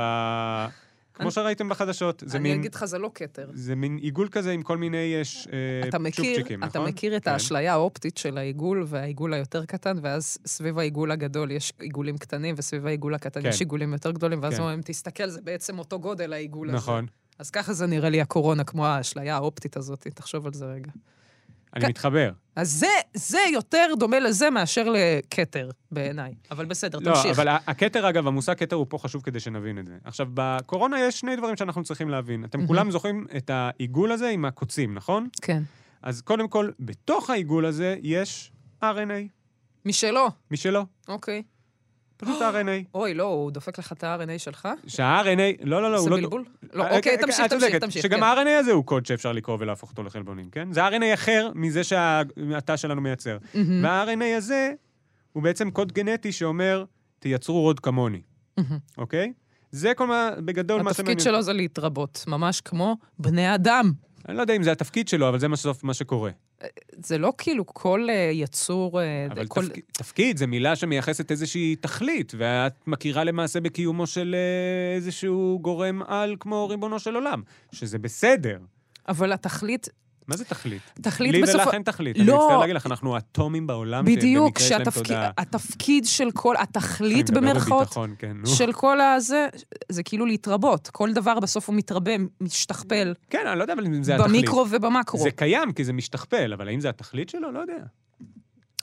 Speaker 2: כמו
Speaker 3: אני-
Speaker 2: שראיתם בחדשות. זה
Speaker 3: אני
Speaker 2: מין...
Speaker 3: אגיד לך, זה לא כתר.
Speaker 2: זה מין עיגול כזה עם כל מיני יש אה,
Speaker 3: אתה מכיר,
Speaker 2: צ'ופצ'יקים,
Speaker 3: אתה
Speaker 2: נכון?
Speaker 3: מכיר את
Speaker 2: כן.
Speaker 3: האשליה האופטית של העיגול והעיגול היותר קטן, ואז סביב העיגול הגדול יש עיגולים קטנים, וסביב העיגול הקטן
Speaker 2: כן.
Speaker 3: יש עיגולים יותר גדולים, ואז
Speaker 2: כן.
Speaker 3: אומרים, תסתכל, זה בעצם אותו גודל העיגול הזה.
Speaker 2: נכון.
Speaker 3: אז ככה זה נראה לי הקורונה, כמו האשליה האופטית הזאת, תחשוב על זה רגע.
Speaker 2: אני
Speaker 3: כן.
Speaker 2: מתחבר.
Speaker 3: אז זה, זה יותר דומה לזה מאשר לכתר, בעיניי. אבל בסדר,
Speaker 2: לא,
Speaker 3: תמשיך.
Speaker 2: אבל ה- הכתר, אגב, המושג כתר הוא פה חשוב כדי שנבין את זה. עכשיו, בקורונה יש שני דברים שאנחנו צריכים להבין. אתם
Speaker 3: מהמם.
Speaker 2: כולם זוכרים את העיגול הזה עם הקוצים, נכון?
Speaker 3: כן.
Speaker 2: אז קודם כל, בתוך העיגול הזה יש RNA,
Speaker 3: משלו,
Speaker 2: משלו,
Speaker 3: אוקיי.
Speaker 2: פשוט RNA.
Speaker 3: אוי, לא, הוא דופק לך את ה-RNA שלך?
Speaker 2: שה-RNA, לא, לא, לא,
Speaker 3: זה
Speaker 2: הוא לא...
Speaker 3: בלבול? לא,
Speaker 2: אה,
Speaker 3: אוקיי,
Speaker 2: אה,
Speaker 3: תמשיך,
Speaker 2: את
Speaker 3: תמשיך,
Speaker 2: צודקת,
Speaker 3: תמשיך.
Speaker 2: שגם
Speaker 3: כן.
Speaker 2: ה-RNA הזה הוא קוד שאפשר לקרוא ולהפוך אותו לחלבונים, כן? זה RNA אחר מזה שהתא שלנו מייצר.
Speaker 3: מהמם,
Speaker 2: וה-RNA הזה הוא בעצם קוד גנטי שאומר, תייצרו עוד כמוני,
Speaker 3: מהמם.
Speaker 2: אוקיי? זה כל מה, בגדול, מה שמעניין.
Speaker 3: התפקיד שלו זה להתרבות, ממש כמו בני אדם.
Speaker 2: אני לא יודע אם זה התפקיד שלו, אבל זה בסוף מה שקורה.
Speaker 3: זה לא כאילו כל אה, יצור, אה,
Speaker 2: אבל
Speaker 3: כל...
Speaker 2: תפק... תפקיד זה מילה שמייחסת איזושהי תכלית, ואת מכירה למעשה בקיומו של אה, איזשהו גורם על כמו ריבונו של עולם, שזה בסדר.
Speaker 3: אבל התכלית,
Speaker 2: מה זה תכלית?
Speaker 3: תכלית
Speaker 2: לי
Speaker 3: בסופו...
Speaker 2: ולך אין תכלית.
Speaker 3: לא.
Speaker 2: אני מצטער להגיד לך, אנחנו אטומים בעולם,
Speaker 3: בדיוק,
Speaker 2: שבמקרה יש להם תודעה.
Speaker 3: שהתפקיד של כל,
Speaker 2: אני
Speaker 3: התכלית
Speaker 2: מדבר
Speaker 3: במרכאות,
Speaker 2: בביטחון, כן, נו.
Speaker 3: של כל הזה, זה כאילו להתרבות. כל דבר בסוף הוא מתרבה, משתכפל,
Speaker 2: כן, אני לא יודע אבל אם זה התכלית.
Speaker 3: במיקרו ובמקרו.
Speaker 2: זה קיים, כי זה משתכפל, אבל האם זה התכלית שלו? לא יודע.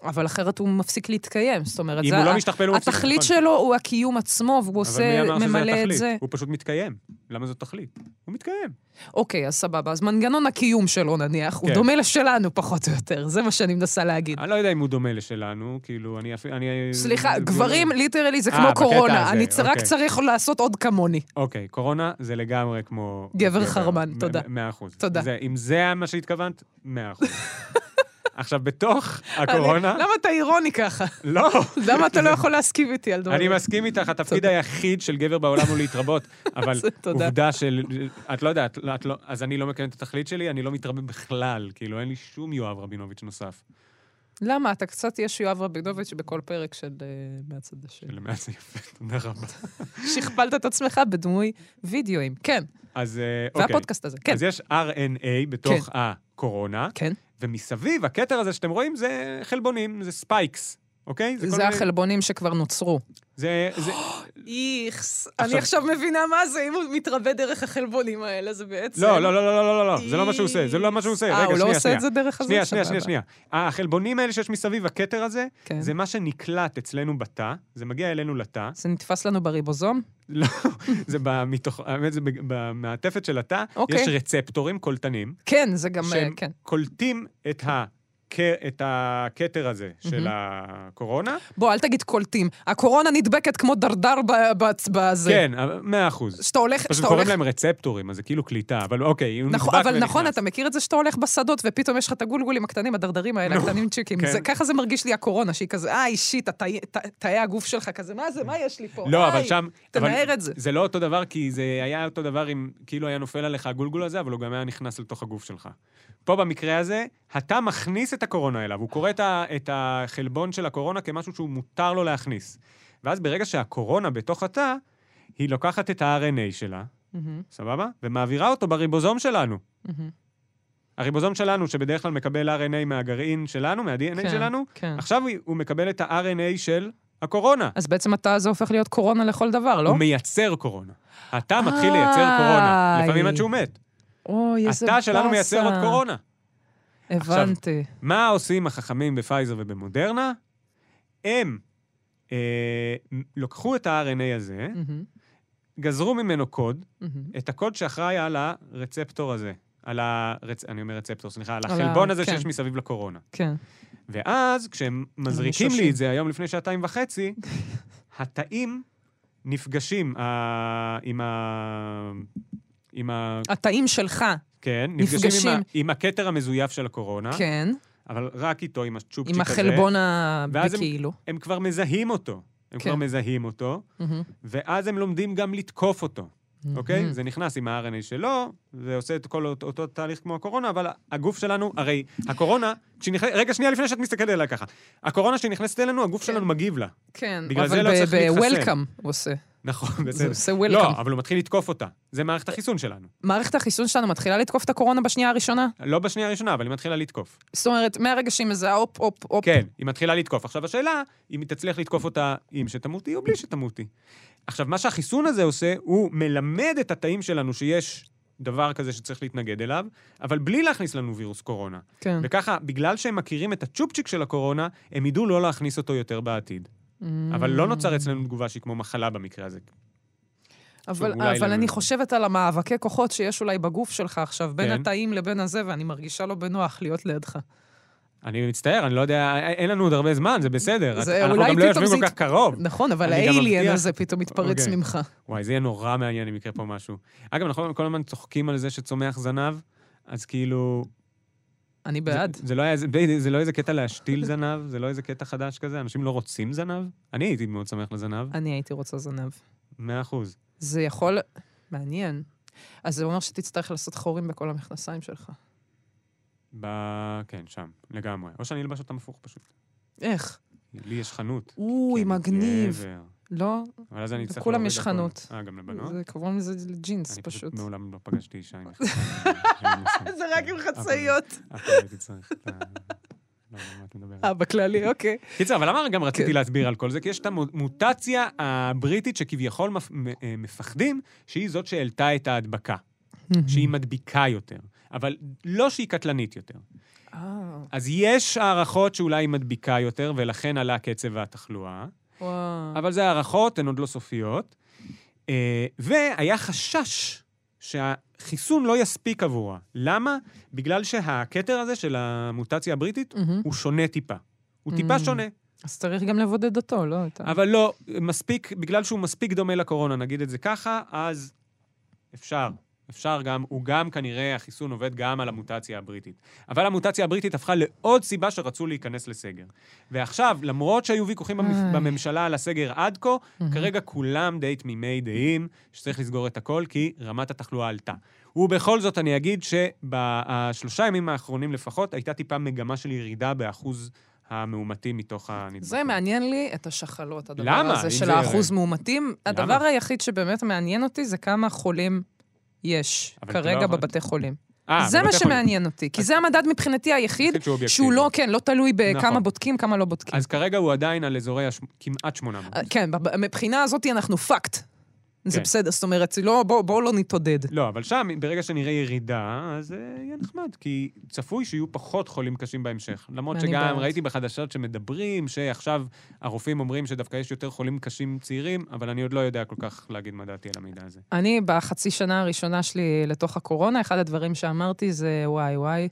Speaker 3: אבל אחרת הוא מפסיק להתקיים, זאת אומרת,
Speaker 2: אם
Speaker 3: זה
Speaker 2: הוא לא
Speaker 3: ה-
Speaker 2: משתכפל, הוא מפסיק.
Speaker 3: התכלית
Speaker 2: נכון.
Speaker 3: שלו הוא הקיום עצמו, והוא עושה,
Speaker 2: אבל מי אמר שזה
Speaker 3: ממלא את
Speaker 2: התכלית?
Speaker 3: זה.
Speaker 2: הוא פשוט מתקיים. למה זו תכלית? הוא מתקיים.
Speaker 3: אוקיי, אז סבבה. אז מנגנון הקיום שלו, נניח, הוא
Speaker 2: כן.
Speaker 3: דומה לשלנו פחות או יותר, זה מה שאני מנסה להגיד.
Speaker 2: אני לא יודע אם הוא דומה לשלנו, כאילו, אני אפילו... אני...
Speaker 3: סליחה,
Speaker 2: זה-
Speaker 3: גברים, ליטרלי זה
Speaker 2: אה,
Speaker 3: כמו
Speaker 2: בקטע
Speaker 3: קורונה,
Speaker 2: הזה,
Speaker 3: אני צ- רק
Speaker 2: אוקיי.
Speaker 3: צריך לעשות עוד כמוני.
Speaker 2: אוקיי, קורונה זה לגמרי כמו...
Speaker 3: גבר חרמן,
Speaker 2: מ-
Speaker 3: תודה.
Speaker 2: מ- מאה אחוז.
Speaker 3: תודה.
Speaker 2: זה- אם זה מה שהתכוונת, מאה אחוז. עכשיו, בתוך הקורונה...
Speaker 3: אני- למה אתה אירוני ככה?
Speaker 2: לא.
Speaker 3: למה אתה לא יכול להסכים איתי על
Speaker 2: אני
Speaker 3: דברים?
Speaker 2: מסכים איתך, התפקיד
Speaker 3: תודה.
Speaker 2: היחיד של גבר בעולם הוא להתרבות, אבל
Speaker 3: זה- תודה.
Speaker 2: עובדה של... את לא יודעת, את לא... אז אני לא מקיים את התכלית שלי, אני לא מתרבה בכלל, כאילו, אין לי שום יואב רבינוביץ' נוסף.
Speaker 3: כן. למה? אתה קצת יש יואב רבינוביץ' בכל פרק של אה, מהצד השני.
Speaker 2: למעט זה יפה, תודה רבה.
Speaker 3: שכפלת את עצמך בדמוי וידאוים. כן,
Speaker 2: אז אה, אוקיי.
Speaker 3: והפודקאסט הזה, כן.
Speaker 2: אז יש RNA בתוך הקורונה,
Speaker 3: כן.
Speaker 2: ומסביב, הכתר הזה שאתם רואים זה חלבונים, זה ספייקס, אוקיי? כל
Speaker 3: זה
Speaker 2: מיני-
Speaker 3: החלבונים שכבר נוצרו.
Speaker 2: זה, זה,
Speaker 3: איכס,
Speaker 2: עכשיו-
Speaker 3: אני עכשיו מבינה מה זה, אם הוא מתרבה דרך החלבונים האלה, זה בעצם...
Speaker 2: לא, לא, לא, לא, לא, לא, לא, זה לא מה שהוא עושה, זה לא מה שהוא עושה.
Speaker 3: אה,
Speaker 2: רגע,
Speaker 3: הוא לא
Speaker 2: שנייה,
Speaker 3: עושה
Speaker 2: שנייה.
Speaker 3: את זה דרך הזה?
Speaker 2: שנייה, שנייה,
Speaker 3: סבבה.
Speaker 2: שנייה, שנייה. החלבונים האלה שיש מסביב, הכתר הזה,
Speaker 3: כן.
Speaker 2: זה מה שנקלט אצלנו בתא, זה מגיע אלינו לתא,
Speaker 3: זה נתפס לנו בריבוזום?
Speaker 2: לא, זה במתוך, האמת, זה בג- במעטפת של התא,
Speaker 3: אוקיי.
Speaker 2: יש רצפטורים קולטנים,
Speaker 3: כן, זה גם... אה,
Speaker 2: שהם
Speaker 3: כן.
Speaker 2: קולטים את ה... כ- את הכתר הזה של הקורונה.
Speaker 3: בוא, אל תגיד קולטים. הקורונה נדבקת כמו דרדר ב- ב- בזה.
Speaker 2: כן, אבל- מאה אחוז.
Speaker 3: שאתה הולך...
Speaker 2: פשוט
Speaker 3: שאתה
Speaker 2: קוראים
Speaker 3: הולך...
Speaker 2: להם רצפטורים, אז זה כאילו קליטה, אבל אוקיי, הוא נדבק
Speaker 3: נכון, אבל נכון,
Speaker 2: ונכנס.
Speaker 3: אתה מכיר את זה שאתה הולך בשדות ופתאום יש לך את הגולגולים הקטנים, הדרדרים האלה,
Speaker 2: נו,
Speaker 3: הקטנים צ'יקים.
Speaker 2: כן.
Speaker 3: זה- ככה זה מרגיש לי הקורונה, שהיא כזה, אה, אישית, התאי- ת- תאי הגוף שלך כזה, מה זה, מה יש לי פה?
Speaker 2: לא, אבל
Speaker 3: איי,
Speaker 2: שם... אבל
Speaker 3: תנער את זה.
Speaker 2: זה לא אותו דבר, כי זה היה אותו דבר אם כאילו היה נופל עליך הגולגול הזה, אבל הוא גם היה נכנס לתוך הגוף שלך. פה במקרה הזה, אתה מכניס את הקורונה אליו, הוא קורא את, ה, את החלבון של הקורונה כמשהו שהוא מותר לו להכניס. ואז ברגע שהקורונה בתוך התא, היא לוקחת את ה-RNA שלה,
Speaker 3: מהמם,
Speaker 2: סבבה? ומעבירה אותו בריבוזום שלנו.
Speaker 3: מהמם.
Speaker 2: הריבוזום שלנו, שבדרך כלל מקבל RNA מהגרעין שלנו, מה-DNA
Speaker 3: כן,
Speaker 2: שלנו,
Speaker 3: כן.
Speaker 2: עכשיו הוא- הוא מקבל את ה-RNA של הקורונה.
Speaker 3: אז בעצם אתה, זה הופך להיות קורונה לכל דבר, לא? אה,
Speaker 2: הוא מייצר קורונה. התא מתחיל לייצר קורונה,
Speaker 3: איי.
Speaker 2: לפעמים עד שהוא מת.
Speaker 3: אוי, איזה
Speaker 2: התא שלנו מייצר עוד
Speaker 3: באסה.
Speaker 2: קורונה.
Speaker 3: הבנתי.
Speaker 2: מה עושים החכמים בפייזר ובמודרנה? הם אה, לקחו את ה-RNA הזה,
Speaker 3: מהמם,
Speaker 2: גזרו ממנו קוד,
Speaker 3: מהמם.
Speaker 2: את הקוד שאחראי על הרצפטור הזה. על הרצ... אני אומר רצפטור, סליחה, על
Speaker 3: על ה-
Speaker 2: החלבון הזה
Speaker 3: כן.
Speaker 2: שיש מסביב לקורונה.
Speaker 3: כן.
Speaker 2: ואז, כשהם מזריקים לי
Speaker 3: מישושים.
Speaker 2: את זה היום לפני שעתיים וחצי, התאים נפגשים ה... עם ה... עם ה...
Speaker 3: התאים שלך,
Speaker 2: כן, נפגשים עם, ה...
Speaker 3: נפגשים.
Speaker 2: עם הכתר המזויף של הקורונה,
Speaker 3: כן.
Speaker 2: אבל רק איתו, עם הצ'ופצ'יק
Speaker 3: עם
Speaker 2: הזה.
Speaker 3: החלבון
Speaker 2: ואז הם-
Speaker 3: הבכאילו.
Speaker 2: הם כבר מזהים אותו. הם
Speaker 3: כן.
Speaker 2: כבר מזהים אותו,
Speaker 3: מהמם.
Speaker 2: ואז הם לומדים גם לתקוף אותו, אוקיי?
Speaker 3: מהמם.
Speaker 2: זה נכנס עם ה-RNA שלו, זה עושה את כל אותו, אותו תהליך כמו הקורונה, אבל הגוף שלנו, הרי הקורונה, כשהיא נכנסת... רגע, שנייה לפני שאת מסתכלת עליי ככה. הקורונה, כשהיא נכנסת אלינו, הגוף שלנו מגיב לה.
Speaker 3: כן,
Speaker 2: בגלל זה
Speaker 3: אבל
Speaker 2: לא צריך להתחסן.
Speaker 3: ב-Welcome הוא עושה.
Speaker 2: נכון,
Speaker 3: זה
Speaker 2: בסדר.
Speaker 3: עושה
Speaker 2: לא,
Speaker 3: Welcome.
Speaker 2: אבל הוא מתחיל לתקוף אותה. זה מערכת החיסון שלנו.
Speaker 3: מערכת החיסון שלנו מתחילה לתקוף את הקורונה בשנייה הראשונה?
Speaker 2: לא בשנייה הראשונה, אבל היא מתחילה לתקוף.
Speaker 3: זאת אומרת, מהרגע שהיא מזהה, הופ, הופ, הופ.
Speaker 2: כן, היא מתחילה לתקוף. עכשיו, השאלה, אם היא תצליח לתקוף אותה עם שתמותי או בלי שתמותי. עכשיו, מה שהחיסון הזה עושה, הוא מלמד את התאים שלנו שיש דבר כזה שצריך להתנגד אליו, אבל בלי להכניס לנו וירוס קורונה.
Speaker 3: כן.
Speaker 2: וככה, בגלל שהם מכירים את הצ'ופצ'יק של הקורונה, הם ידעו לא להכניס אותו יותר בעתיד.
Speaker 3: Mm.
Speaker 2: אבל לא נוצר אצלנו תגובה שהיא כמו מחלה במקרה הזה.
Speaker 3: אבל,
Speaker 2: שאולי
Speaker 3: אבל
Speaker 2: לנו-
Speaker 3: אני חושבת על המאבקי כוחות שיש אולי בגוף שלך עכשיו, בין
Speaker 2: כן.
Speaker 3: התאים לבין הזה, ואני מרגישה לא בנוח להיות לידך.
Speaker 2: אני מצטער, אני לא יודע, אין לנו עוד הרבה זמן, זה בסדר.
Speaker 3: זה
Speaker 2: אנחנו
Speaker 3: אולי
Speaker 2: גם לא
Speaker 3: פתאום
Speaker 2: יושבים
Speaker 3: זה
Speaker 2: כל כך
Speaker 3: ית-
Speaker 2: קרוב.
Speaker 3: נכון, אבל
Speaker 2: אני גם
Speaker 3: האליאן
Speaker 2: מבטיח-
Speaker 3: הזה פתאום מתפרץ
Speaker 2: אוקיי.
Speaker 3: ממך.
Speaker 2: וואי, זה יהיה נורא מעניין אם יקרה פה משהו. אגב, נכון, כל הזמן צוחקים על זה שצומח זנב, אז כאילו...
Speaker 3: אני בעד.
Speaker 2: זה, זה, לא היה, איזה- בדיוק, זה לא איזה קטע להשתיל זנב, זה לא איזה קטע חדש כזה, אנשים לא רוצים זנב. אני הייתי מאוד שמח לזנב,
Speaker 3: אני הייתי רוצה זנב.
Speaker 2: מאה אחוז.
Speaker 3: זה יכול... מעניין. אז זה אומר שתצטרך לעשות חורים בכל המכנסיים שלך.
Speaker 2: ב... כן, שם, לגמרי. או שאני אלבש אותם הפוך פשוט.
Speaker 3: איך?
Speaker 2: לי יש חנות.
Speaker 3: אוי,
Speaker 2: כי אני
Speaker 3: מגניב.
Speaker 2: גבר.
Speaker 3: לא,
Speaker 2: אבל אז אני אצטרך...
Speaker 3: לכולם
Speaker 2: להוריד
Speaker 3: יש
Speaker 2: הכל.
Speaker 3: חנות.
Speaker 2: אה, גם לבנות?
Speaker 3: זה קוראים לזה ג'ינס
Speaker 2: אני פשוט
Speaker 3: פשוט.
Speaker 2: מעולם לא פגשתי אישה עם חצאיות.
Speaker 3: זה רק עם חצאיות.
Speaker 2: אף פעם לא הייתי צריך את ה... לא יודע מה את מדברת.
Speaker 3: אה, בכללי, אוקיי.
Speaker 2: קיצר, אבל למה גם רציתי
Speaker 3: כן.
Speaker 2: להסביר על כל זה? כי יש את המוטציה הבריטית שכביכול מפ- מ- אה, מפחדים, שהיא זאת שהעלתה את ההדבקה, שהיא מדביקה יותר, אבל לא שהיא קטלנית יותר.
Speaker 3: אה,
Speaker 2: אז יש הערכות שאולי היא מדביקה יותר, ולכן עלה קצב התחלואה,
Speaker 3: וואו.
Speaker 2: אבל זה הערכות, הן עוד לא סופיות. אה, והיה חשש שהחיסון לא יספיק עבורה. למה? בגלל שהכתר הזה של המוטציה הבריטית
Speaker 3: מהמם.
Speaker 2: הוא שונה טיפה. הוא
Speaker 3: Mm.
Speaker 2: טיפה שונה.
Speaker 3: אז צריך גם לבודד אותו, לא? את ה-
Speaker 2: אבל לא, מספיק, בגלל שהוא מספיק דומה לקורונה, נגיד את זה ככה, אז אפשר. אפשר גם, הוא גם כנראה, החיסון עובד גם על המוטציה הבריטית. אבל המוטציה הבריטית הפכה לעוד סיבה שרצו להיכנס לסגר. ועכשיו, למרות שהיו ויכוחים במפ-
Speaker 3: איי.
Speaker 2: בממשלה על הסגר עד כה,
Speaker 3: מהמם.
Speaker 2: כרגע כולם די תמימי דעים שצריך לסגור את הכל, כי רמת התחלואה עלתה. ובכל זאת אני אגיד שבשלושה ימים האחרונים לפחות, הייתה טיפה מגמה של ירידה באחוז המאומתים מתוך הנדבקים. אה,
Speaker 3: זה מעניין לי את השחלות, הדבר
Speaker 2: למה?
Speaker 3: הזה
Speaker 2: אם
Speaker 3: של
Speaker 2: זה-
Speaker 3: האחוז מאומתים. הדבר
Speaker 2: למה?
Speaker 3: היחיד שבאמת מעניין אותי זה כמה חולים יש
Speaker 2: אבל אתה לא
Speaker 3: כרגע
Speaker 2: יכול-
Speaker 3: בבתי חולים.
Speaker 2: אה,
Speaker 3: זה מה
Speaker 2: בבתי חולים.
Speaker 3: שמעניין אותי, כי זה המדד מבחינתי היחיד,
Speaker 2: היחיד שהוא אובייקטיבי.
Speaker 3: שהוא לא, כן, לא תלוי בכמה
Speaker 2: נכון.
Speaker 3: בודקים, כמה לא בודקים.
Speaker 2: אז כרגע הוא עדיין על אזורי הש... כמעט 800.
Speaker 3: אה, כן, בב- מבחינה הזאת אנחנו פאקט. זה
Speaker 2: כן.
Speaker 3: בסדר, זאת אומרת, לא- בוא- בואו לא נתעודד.
Speaker 2: לא, אבל שם, ברגע שנראה ירידה, אז אה, יהיה נחמד, כי צפוי שיהיו פחות חולים קשים בהמשך. למרות
Speaker 3: אני
Speaker 2: שגם
Speaker 3: בעד.
Speaker 2: ראיתי בחדשות שמדברים, שעכשיו הרופאים אומרים שדווקא יש יותר חולים קשים צעירים, אבל אני עוד לא יודע כל כך להגיד מה דעתי על המידע הזה.
Speaker 3: אני, בחצי שנה הראשונה שלי לתוך הקורונה, אחד הדברים שאמרתי זה, וואי, וואי,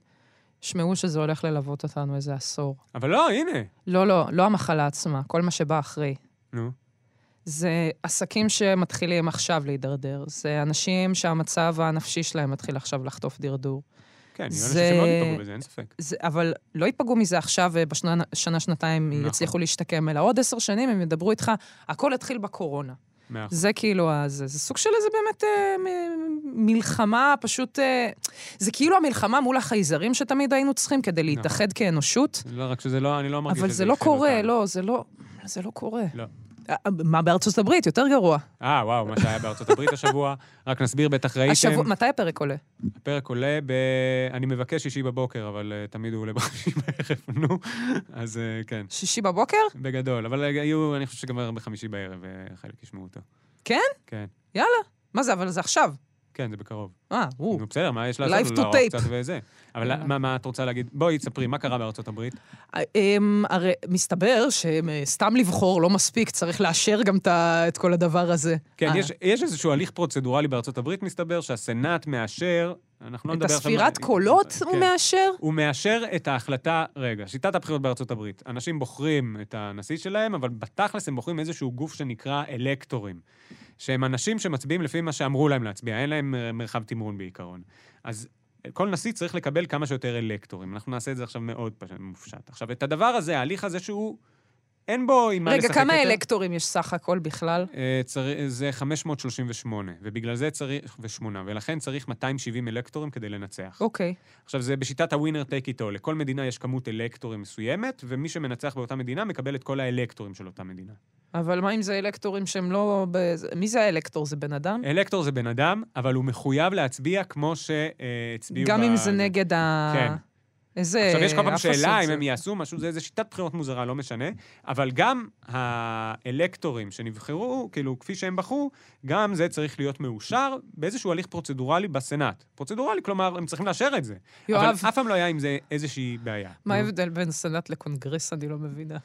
Speaker 3: שמעו שזה הולך ללוות אותנו איזה עשור.
Speaker 2: אבל לא, הנה.
Speaker 3: לא, לא, לא המחלה עצמה, כל מה שבא אחרי.
Speaker 2: נו.
Speaker 3: זה עסקים שמתחילים עכשיו להידרדר, זה אנשים שהמצב הנפשי שלהם מתחיל עכשיו לחטוף דרדור.
Speaker 2: כן, אני
Speaker 3: זה-
Speaker 2: חושב שמאוד יפגעו בזה, אין ספק.
Speaker 3: זה, אבל לא ייפגעו מזה עכשיו, ובשנה-שנתיים
Speaker 2: נכון.
Speaker 3: יצליחו להשתקם, אלא עוד עשר שנים הם ידברו איתך, הכל התחיל בקורונה.
Speaker 2: מאה אחוז.
Speaker 3: זה כאילו, ה- זה, זה סוג של איזה באמת אה, מ- מלחמה, פשוט... אה, זה כאילו המלחמה מול החייזרים שתמיד היינו צריכים כדי להתאחד כאנושות,
Speaker 2: לא, רק שזה לא, אני לא נכון. מרגיש
Speaker 3: אבל
Speaker 2: שזה
Speaker 3: זה לא
Speaker 2: איחד
Speaker 3: קורה,
Speaker 2: אותנו.
Speaker 3: לא, זה לא, זה לא קורה.
Speaker 2: לא.
Speaker 3: אה, מה בארצות הברית? יותר גרוע.
Speaker 2: אה, וואו, מה שהיה בארצות הברית השבוע, רק נסביר, בטח ראיתם.
Speaker 3: השבוע, מתי הפרק עולה?
Speaker 2: הפרק עולה ב... אני מבקש שישי בבוקר, אבל אה, תמיד הוא עולה בחמישי בערב, נו. אז אה, כן,
Speaker 3: שישי בבוקר?
Speaker 2: בגדול. אבל אה, היו, אני חושב שגם בחמישי בערב אה, חלק ישמעו אותו.
Speaker 3: כן?
Speaker 2: כן,
Speaker 3: מה זה, אבל זה עכשיו.
Speaker 2: כן, זה בקרוב.
Speaker 3: אה, וואו.
Speaker 2: נו, בסדר, מה יש
Speaker 3: Live
Speaker 2: לעשות?
Speaker 3: to
Speaker 2: לערוך
Speaker 3: tape. אה.
Speaker 2: קצת וזה. אבל
Speaker 3: יאללה.
Speaker 2: מה- מה את רוצה להגיד? בואי, תספרי, מה קרה בארצות הברית?
Speaker 3: אה, אמ, הרי מסתבר שסתם לבחור לא מספיק, צריך לאשר גם את ה- את כל הדבר הזה.
Speaker 2: כן,
Speaker 3: אה,
Speaker 2: יש- יש איזשהו הליך פרוצדורלי בארצות הברית, מסתבר, שהסנאט מאשר, אנחנו לא
Speaker 3: את
Speaker 2: נדבר עכשיו...
Speaker 3: הספירת קולות
Speaker 2: כן.
Speaker 3: הוא מאשר?
Speaker 2: הוא מאשר את ההחלטה, רגע, שיטת הבחירות בארצות הברית. אנשים בוחרים את הנשיא שלהם, אבל בתכלס הם בוחרים איזשהו גוף שנקרא אלקטורים. שהם אנשים שמצביעים לפי מה שאמרו להם להצביע, אין להם אה, מרחב תמרון בעיקרון. אז כל נשיא צריך לקבל כמה שיותר אלקטורים. אנחנו נעשה את זה עכשיו מאוד פשוט, מופשט. עכשיו, את הדבר הזה, ההליך הזה שהוא, אין בו עם מה לשחק
Speaker 3: רגע,
Speaker 2: יותר.
Speaker 3: כמה אלקטורים יש סך הכל בכלל?
Speaker 2: אה, צר- זה 538, ובגלל זה צריך, ושמונה, ולכן צריך 270 אלקטורים כדי לנצח.
Speaker 3: אוקיי.
Speaker 2: עכשיו, זה בשיטת הווינר טייק איטו, לכל מדינה יש כמות אלקטורים מסוימת, ומי שמנצח באותה מדינה מקבל את כל האלקטורים של אותה מדינה.
Speaker 3: אבל מה אם זה אלקטורים שהם לא... ב- זה- מי זה האלקטור? זה בן אדם?
Speaker 2: אלקטור זה בן אדם, אבל הוא מחויב להצביע כמו שהצביעו...
Speaker 3: גם
Speaker 2: ב-
Speaker 3: אם זה נגד אה, ה...
Speaker 2: כן.
Speaker 3: איזה...
Speaker 2: עכשיו, יש כל פעם
Speaker 3: אפסות
Speaker 2: שאלה אם
Speaker 3: זה.
Speaker 2: הם יעשו משהו, זה איזה שיטת בחירות מוזרה, לא משנה, אבל גם האלקטורים שנבחרו, כאילו, כפי שהם בחרו, גם זה צריך להיות מאושר באיזשהו הליך פרוצדורלי בסנאט. פרוצדורלי, כלומר, הם צריכים לאשר את זה.
Speaker 3: יואב,
Speaker 2: אבל אף פעם לא היה עם זה איזושהי בעיה.
Speaker 3: מה
Speaker 2: נו.
Speaker 3: ההבדל בין סנאט לקונגרס? אני לא מבינה.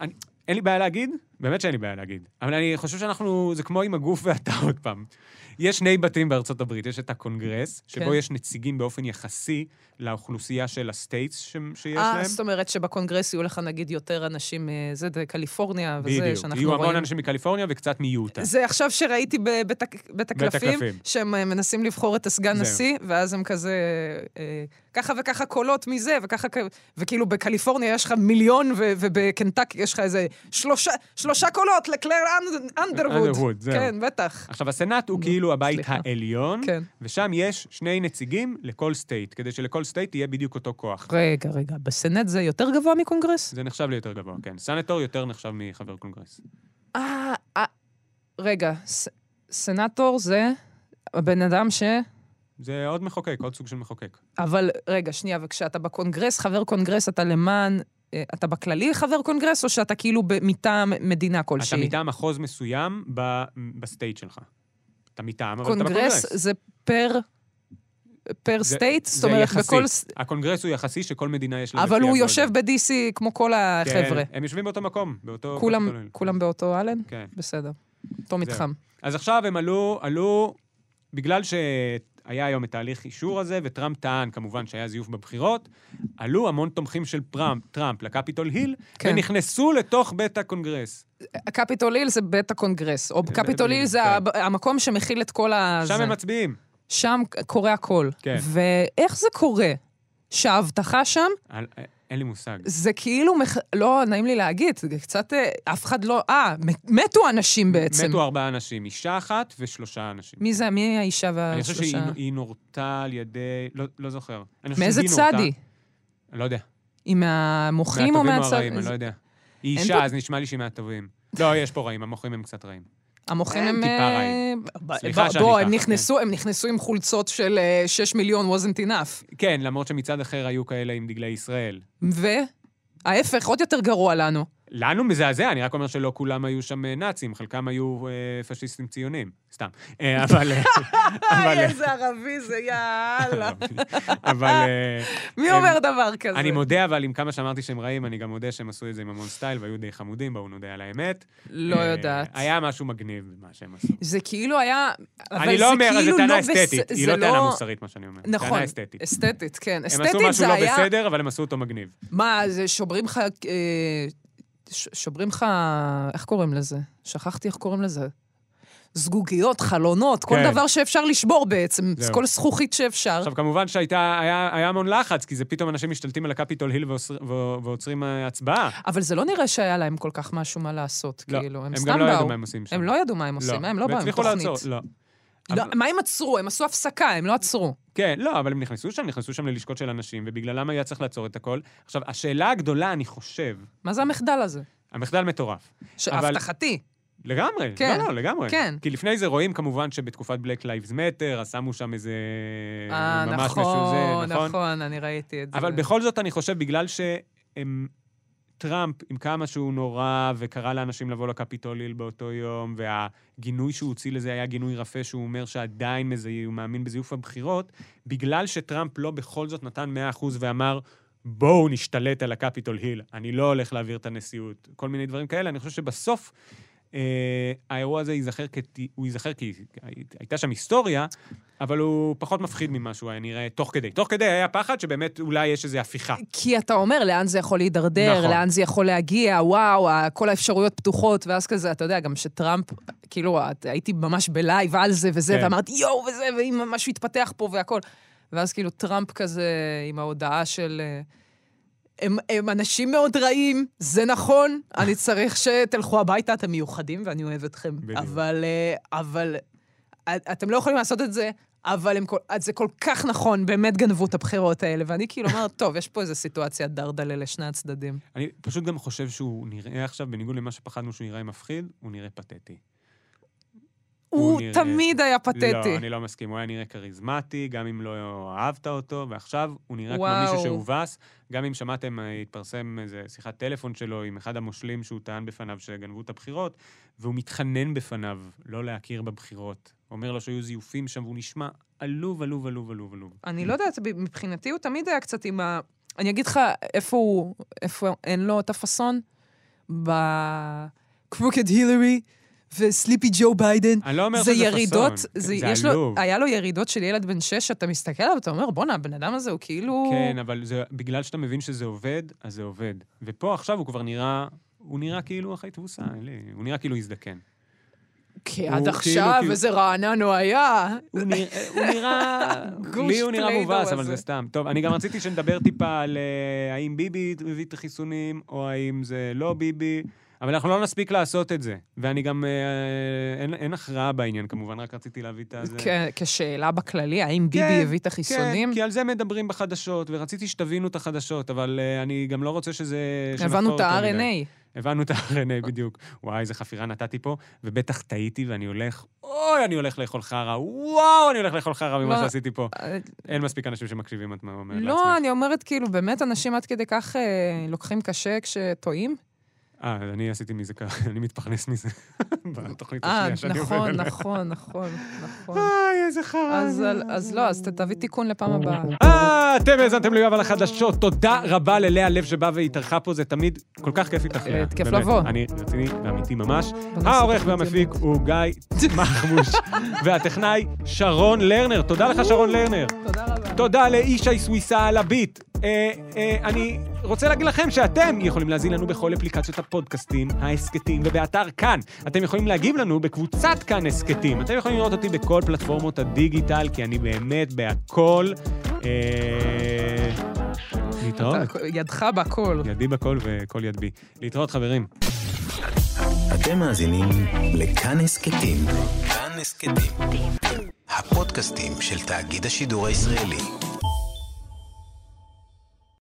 Speaker 2: אני, אין לי בעיה להגיד, באמת שאין לי בעיה להגיד, אבל אני חושב שאנחנו, זה כמו עם הגוף ואתה עוד פעם. יש שני בתים בארצות הברית, יש את הקונגרס, שבו
Speaker 3: כן.
Speaker 2: יש נציגים באופן יחסי לאוכלוסייה של הסטייטס ש, שיש
Speaker 3: אה,
Speaker 2: להם.
Speaker 3: זאת אומרת שבקונגרס יהיו לך נגיד יותר אנשים, אה, זה זה קליפורניה וזה
Speaker 2: בדיוק.
Speaker 3: שאנחנו
Speaker 2: יהיו המון
Speaker 3: רואים.
Speaker 2: אנשים מקליפורניה וקצת מיוטה.
Speaker 3: זה עכשיו שראיתי בבית הק- בית הקלפים,
Speaker 2: כן. הקלפים.
Speaker 3: שהם אה, מנסים לבחור את הסגן
Speaker 2: זהו.
Speaker 3: נשיא, ואז הם כזה, אה, ככה וככה קולות מזה, וככה, כ- וכאילו בקליפורניה יש לך מיליון, ו- ובקנטק יש לך איזה שלושה, שלושה קולות לקלר אנד- אנדרווד.
Speaker 2: אנדרווד, זהו. אה?
Speaker 3: כן, בטח.
Speaker 2: עכשיו, הסנאט הוא כאילו הבית
Speaker 3: סליחה.
Speaker 2: העליון,
Speaker 3: כן.
Speaker 2: ושם יש שני נציגים לכל סטייט, כדי שלכל סטייט יהיה בדיוק אותו כוח.
Speaker 3: רגע, רגע, בסנאט זה יותר גבוה מקונגרס?
Speaker 2: זה נחשב ליותר גבוה, כן. סנטור יותר נחשב מחבר קונגרס.
Speaker 3: אה, אה, רגע, ס- סנאטור זה הבן אדם ש...
Speaker 2: זה עוד מחוקק, עוד סוג של מחוקק.
Speaker 3: אבל רגע, שנייה, וכשאתה בקונגרס, חבר קונגרס, אתה למען... אה, אתה בכללי חבר קונגרס, או שאתה כאילו ב- מטעם מדינה
Speaker 2: אתה
Speaker 3: כלשהי?
Speaker 2: מטעם מחוז מסוים ב- בסטייט שלך. אתה מטעם, אבל אתה לא בקונגרס.
Speaker 3: קונגרס זה פר... פר
Speaker 2: זה-
Speaker 3: סטייט? זאת
Speaker 2: זה
Speaker 3: אומרת,
Speaker 2: יחסי.
Speaker 3: בכל... ס-
Speaker 2: הקונגרס הוא יחסי שכל מדינה יש לה...
Speaker 3: אבל
Speaker 2: לפי
Speaker 3: הוא
Speaker 2: הגודל.
Speaker 3: יושב ב-DC כמו כל החבר'ה.
Speaker 2: כן, הם יושבים באותו מקום, באותו...
Speaker 3: כולם,
Speaker 2: קפיטוליון.
Speaker 3: כולם באותו אלן?
Speaker 2: כן.
Speaker 3: בסדר. אותו מתחם.
Speaker 2: אז עכשיו הם עלו, עלו, בגלל שהיה היום את תהליך אישור הזה, וטראמפ טען כמובן שהיה זיוף בבחירות, עלו המון תומכים של פראמפ, טראמפ לקפיטול היל,
Speaker 3: כן.
Speaker 2: ונכנסו לתוך בית הקונגרס.
Speaker 3: קפיטול היל זה בית הקונגרס, או קפיטול היל זה
Speaker 2: כן.
Speaker 3: הב- המקום שמכיל את כל ה...
Speaker 2: שם
Speaker 3: זה.
Speaker 2: הם מצביעים.
Speaker 3: שם קורה הכל.
Speaker 2: כן.
Speaker 3: ואיך זה קורה? שההבטחה שם
Speaker 2: על- אין לי מושג.
Speaker 3: זה כאילו, מח... לא, נעים לי להגיד, זה קצת, אה, אף אחד לא, אה, מת- מתו אנשים בעצם.
Speaker 2: מתו ארבעה אנשים, אישה אחת ושלושה אנשים.
Speaker 3: מי זה, מי האישה
Speaker 2: אני חושב
Speaker 3: והשלושה?
Speaker 2: שהיא היא נורתה על ידי... לא- לא זוכר. אני חושב
Speaker 3: מאיזה
Speaker 2: שהיא
Speaker 3: צד
Speaker 2: נורתה-
Speaker 3: היא?
Speaker 2: לא יודע.
Speaker 3: היא מהמוחים או
Speaker 2: מהטובים או
Speaker 3: מהצד?
Speaker 2: הרעים, אני לא יודע. היא
Speaker 3: אין
Speaker 2: אישה,
Speaker 3: פה-
Speaker 2: אז נשמע לי שהיא מהטובים. לא, יש פה רעים, המוחים הם קצת רעים.
Speaker 3: המוחים
Speaker 2: אין,
Speaker 3: הם...
Speaker 2: טיפה
Speaker 3: אה,
Speaker 2: רעים.
Speaker 3: ב-
Speaker 2: סליחה
Speaker 3: ב-
Speaker 2: שאני
Speaker 3: בוא,
Speaker 2: ככה, כן.
Speaker 3: הם נכנסו, הם נכנסו עם חולצות של 6 מיליון wasn't enough.
Speaker 2: כן, למרות שמצד אחר היו כאלה עם דגלי ישראל.
Speaker 3: וההפך, עוד יותר גרוע לנו.
Speaker 2: לנו מזעזע, אני רק אומר שלא כולם היו שם אה, נאצים, חלקם היו אה, פשיסטים ציונים, סתם. אה, אבל... אה, אבל... אה, לא,
Speaker 3: ערבי זה, יאללה.
Speaker 2: אבל... אה,
Speaker 3: מי
Speaker 2: הם-
Speaker 3: אומר דבר כזה?
Speaker 2: אני מודה, אבל עם כמה שאמרתי שהם רעים, אני גם מודה שהם עשו את זה עם המון סטייל והיו די חמודים, בואו נודה על האמת.
Speaker 3: לא
Speaker 2: אה,
Speaker 3: יודעת.
Speaker 2: היה משהו מגניב במה שהם עשו.
Speaker 3: זה כאילו היה... אבל
Speaker 2: אני
Speaker 3: זה
Speaker 2: לא אומר, אז זו
Speaker 3: כאילו
Speaker 2: טענה
Speaker 3: לא
Speaker 2: אסתטית,
Speaker 3: בס-
Speaker 2: היא
Speaker 3: זה
Speaker 2: לא טענה מוסרית, מה שאני אומר.
Speaker 3: נכון,
Speaker 2: טענה אסתטית.
Speaker 3: אסתטית, כן.
Speaker 2: הם עשו
Speaker 3: אסתטית
Speaker 2: משהו
Speaker 3: זה
Speaker 2: לא
Speaker 3: היה...
Speaker 2: בסדר, אבל הם עשו אותו מגניב.
Speaker 3: מה, זה שוברים לך... אה, ש- שוברים לך... איך קוראים לזה? שכחתי איך קוראים לזה. זגוגיות, חלונות, כל
Speaker 2: כן.
Speaker 3: דבר שאפשר לשבור בעצם,
Speaker 2: זהו.
Speaker 3: כל זכוכית שאפשר.
Speaker 2: עכשיו, כמובן שהיה המון לחץ, כי זה פתאום אנשים משתלטים על הקפיטול היל ועושר- ו- ועוצרים אה, הצבעה.
Speaker 3: אבל זה לא נראה שהיה להם כל כך משהו מה לעשות,
Speaker 2: לא,
Speaker 3: כאילו,
Speaker 2: הם
Speaker 3: הם
Speaker 2: גם
Speaker 3: סתם
Speaker 2: לא ידעו
Speaker 3: באו.
Speaker 2: מה הם עושים שם.
Speaker 3: הם לא ידעו מה הם עושים, הם לא באו עם
Speaker 2: והצליחו
Speaker 3: תוכנית.
Speaker 2: לעצור, לא.
Speaker 3: לא,
Speaker 2: אבל-
Speaker 3: מה הם עצרו? הם עשו הפסקה, הם לא עצרו.
Speaker 2: כן, לא, אבל הם נכנסו שם, נכנסו שם ללשכות של אנשים, ובגללם היה צריך לעצור את הכל. עכשיו, השאלה הגדולה, אני חושב,
Speaker 3: מה זה המחדל הזה?
Speaker 2: המחדל מטורף. אבל-
Speaker 3: שהבטחתי.
Speaker 2: לגמרי,
Speaker 3: כן.
Speaker 2: לא, לא, לגמרי.
Speaker 3: כן.
Speaker 2: כי לפני זה רואים כמובן שבתקופת Black Lives Matter, אז שמו שם איזה...
Speaker 3: אה,
Speaker 2: ממש
Speaker 3: נכון,
Speaker 2: משוגע,
Speaker 3: נכון, אני ראיתי את זה.
Speaker 2: אבל בכל זאת, אני חושב, בגלל שהם... טראמפ, עם כמה שהוא נורא, וקרא לאנשים לבוא לקפיטוליל באותו יום, והגינוי שהוא הוציא לזה היה גינוי רפה, שהוא אומר שעדיין מזי... הוא מאמין בזיוף הבחירות, בגלל שטראמפ לא בכל זאת נתן 100% ואמר, בואו נשתלט על הקפיטול היל, אני לא הולך להעביר את הנשיאות, כל מיני דברים כאלה, אני חושב שבסוף... אה, האירוע הזה ייזכר, כת... הוא ייזכר כי הייתה שם היסטוריה, אבל הוא פחות מפחיד ממה שהוא היה נראה תוך כדי. תוך כדי היה פחד שבאמת אולי יש איזו הפיכה.
Speaker 3: כי אתה אומר, לאן זה יכול להידרדר,
Speaker 2: נכון.
Speaker 3: נכון. לאן זה יכול להגיע, וואו, ה- כל האפשרויות פתוחות, ואז כזה, אתה יודע, גם שטראמפ, כאילו, את- הייתי ממש בלייב על זה וזה,
Speaker 2: כן.
Speaker 3: ואמרתי, יואו, וזה, ואם משהו יתפתח פה והכל. ואז כאילו טראמפ כזה, עם ההודעה של... אה, הם, הם אנשים מאוד רעים, זה נכון, אני צריך שתלכו הביתה, אתם מיוחדים ואני אוהב אתכם.
Speaker 2: בדיוק.
Speaker 3: אבל, אה, אבל את- אתם לא יכולים לעשות את זה, אבל הם, כל- את- זה כל כך נכון, באמת גנבו את הבחירות האלה. ואני כאילו אומרת, טוב, יש פה איזו סיטואציה דרדלה לשני הצדדים.
Speaker 2: אני פשוט גם חושב שהוא נראה עכשיו, בניגוד למה שפחדנו שהוא ייראה מפחיד, הוא נראה פתטי. הוא
Speaker 3: הוא
Speaker 2: נראה-
Speaker 3: תמיד היה
Speaker 2: לא,
Speaker 3: פתטי.
Speaker 2: אני לא מסכים. הוא היה נראה כריזמטי, גם אם לא אהבת אותו, ועכשיו הוא נראה כמו
Speaker 3: וואו.
Speaker 2: מישהו שהובס. גם אם שמעתם, אה, התפרסם איזה שיחת טלפון שלו עם אחד המושלים שהוא טען בפניו שגנבו את הבחירות, והוא מתחנן בפניו לא להכיר בבחירות. הוא אומר לו שהיו זיופים שם, והוא נשמע עלוב, עלוב, עלוב, עלוב, עלוב.
Speaker 3: אני לא יודעת, ב- מבחינתי הוא תמיד היה קצת עם ה... אני אגיד לך איפה הוא, איפה אין לו את הפאסון? בקרוקד הילרי וסליפי ג'ו ביידן.
Speaker 2: אני לא אומר
Speaker 3: זה
Speaker 2: שזה
Speaker 3: ירידות,
Speaker 2: פאסון,
Speaker 3: זה,
Speaker 2: זה
Speaker 3: יש לו,
Speaker 2: עלוב.
Speaker 3: היה לו ירידות של ילד בן שש, שאתה מסתכל עליו, אתה אומר, בואנה, הבן אדם הזה הוא כאילו...
Speaker 2: כן, אבל זה, בגלל שאתה מבין שזה עובד, אז זה עובד. ופה עכשיו הוא כבר נראה, הוא נראה כאילו אחרי תבוסה, אין לי- הוא נראה כאילו הזדקן.
Speaker 3: כי
Speaker 2: הוא
Speaker 3: עד
Speaker 2: כאילו-
Speaker 3: עכשיו
Speaker 2: כאילו-
Speaker 3: איזה רענן הוא היה.
Speaker 2: הוא נראה, הוא נראה,
Speaker 3: גוש
Speaker 2: לי הוא נראה
Speaker 3: פליידו
Speaker 2: מובס, אבל
Speaker 3: הזה.
Speaker 2: זה סתם. טוב, אני גם רציתי שנדבר טיפה על אה, האם ביבי הביא את החיסונים, או האם זה לא ביבי, אבל אנחנו לא נספיק לעשות את זה. ואני גם, אה, אין- אין הכרעה בעניין כמובן, רק רציתי להביא את הזה.
Speaker 3: כ- כשאלה בכללי, האם
Speaker 2: כן,
Speaker 3: ביבי הביא את החיסונים?
Speaker 2: כן, כי על זה מדברים בחדשות, ורציתי שתבינו את החדשות, אבל אה, אני גם לא רוצה שזה...
Speaker 3: הבנו
Speaker 2: שנחקור
Speaker 3: את
Speaker 2: יותר מדי. אה,
Speaker 3: ה-RNA.
Speaker 2: הבנו את ה-RNA בדיוק. וואי, איזה חפירה נתתי פה, ובטח טעיתי ואני הולך, אוי, אני הולך לאכול חרא, וואו, אני הולך לאכול חרא ממה
Speaker 3: לא.
Speaker 2: שעשיתי פה.
Speaker 3: אה,
Speaker 2: אין מספיק אנשים שמקשיבים, את אומרת לעצמך.
Speaker 3: לא, אני אומרת, כאילו, באמת אנשים עד כדי כך אה, לוקחים קשה כשטועים?
Speaker 2: אה, אז אני עשיתי מזה ככה, אני מתפרנס מזה בתוכנית
Speaker 3: אה,
Speaker 2: השנייה שאני עובד
Speaker 3: נכון,
Speaker 2: עליה.
Speaker 3: נכון, נכון, נכון.
Speaker 2: איי, איזה חרא.
Speaker 3: אז
Speaker 2: זה.
Speaker 3: על- אז לא, אז ת- תביא תיקון לפעם הבאה.
Speaker 2: אה, אתם האזנתם ליואב על התחדשות. תודה רבה ללאה לב שבאה והתארחה פה, זה תמיד כל כך כיף איתך. לאה.
Speaker 3: אה, כיף
Speaker 2: באמת,
Speaker 3: לבוא.
Speaker 2: אני רציני ואמיתי ממש.
Speaker 3: נעשה
Speaker 2: העורך
Speaker 3: תוכנית
Speaker 2: והמפיק הוא גיא מחמוש, והטכנאי שרון לרנר. תודה לך, שרון לרנר.
Speaker 3: תודה רבה.
Speaker 2: תודה לאישי סוויסה על הביט. אה, אה, אני רוצה להגיד לכם שאתם יכולים להזין לנו בכל אפליקציות הפודקאסטים, ההסכתים ובאתר כאן. אתם יכולים להגיב לנו בקבוצת כאן הסכתים. אתם יכולים לראות אותי בכל פלטפורמות הדיגיטל, כי אני באמת בהכל. אה, להתראות.
Speaker 3: ידך בכל.
Speaker 2: ידי בכל וכל יד בי. להתראות, חברים.
Speaker 1: אתם מאזינים לכאן הסכתים. כאן הסכתים. הפודקאסטים של תאגיד השידור הישראלי.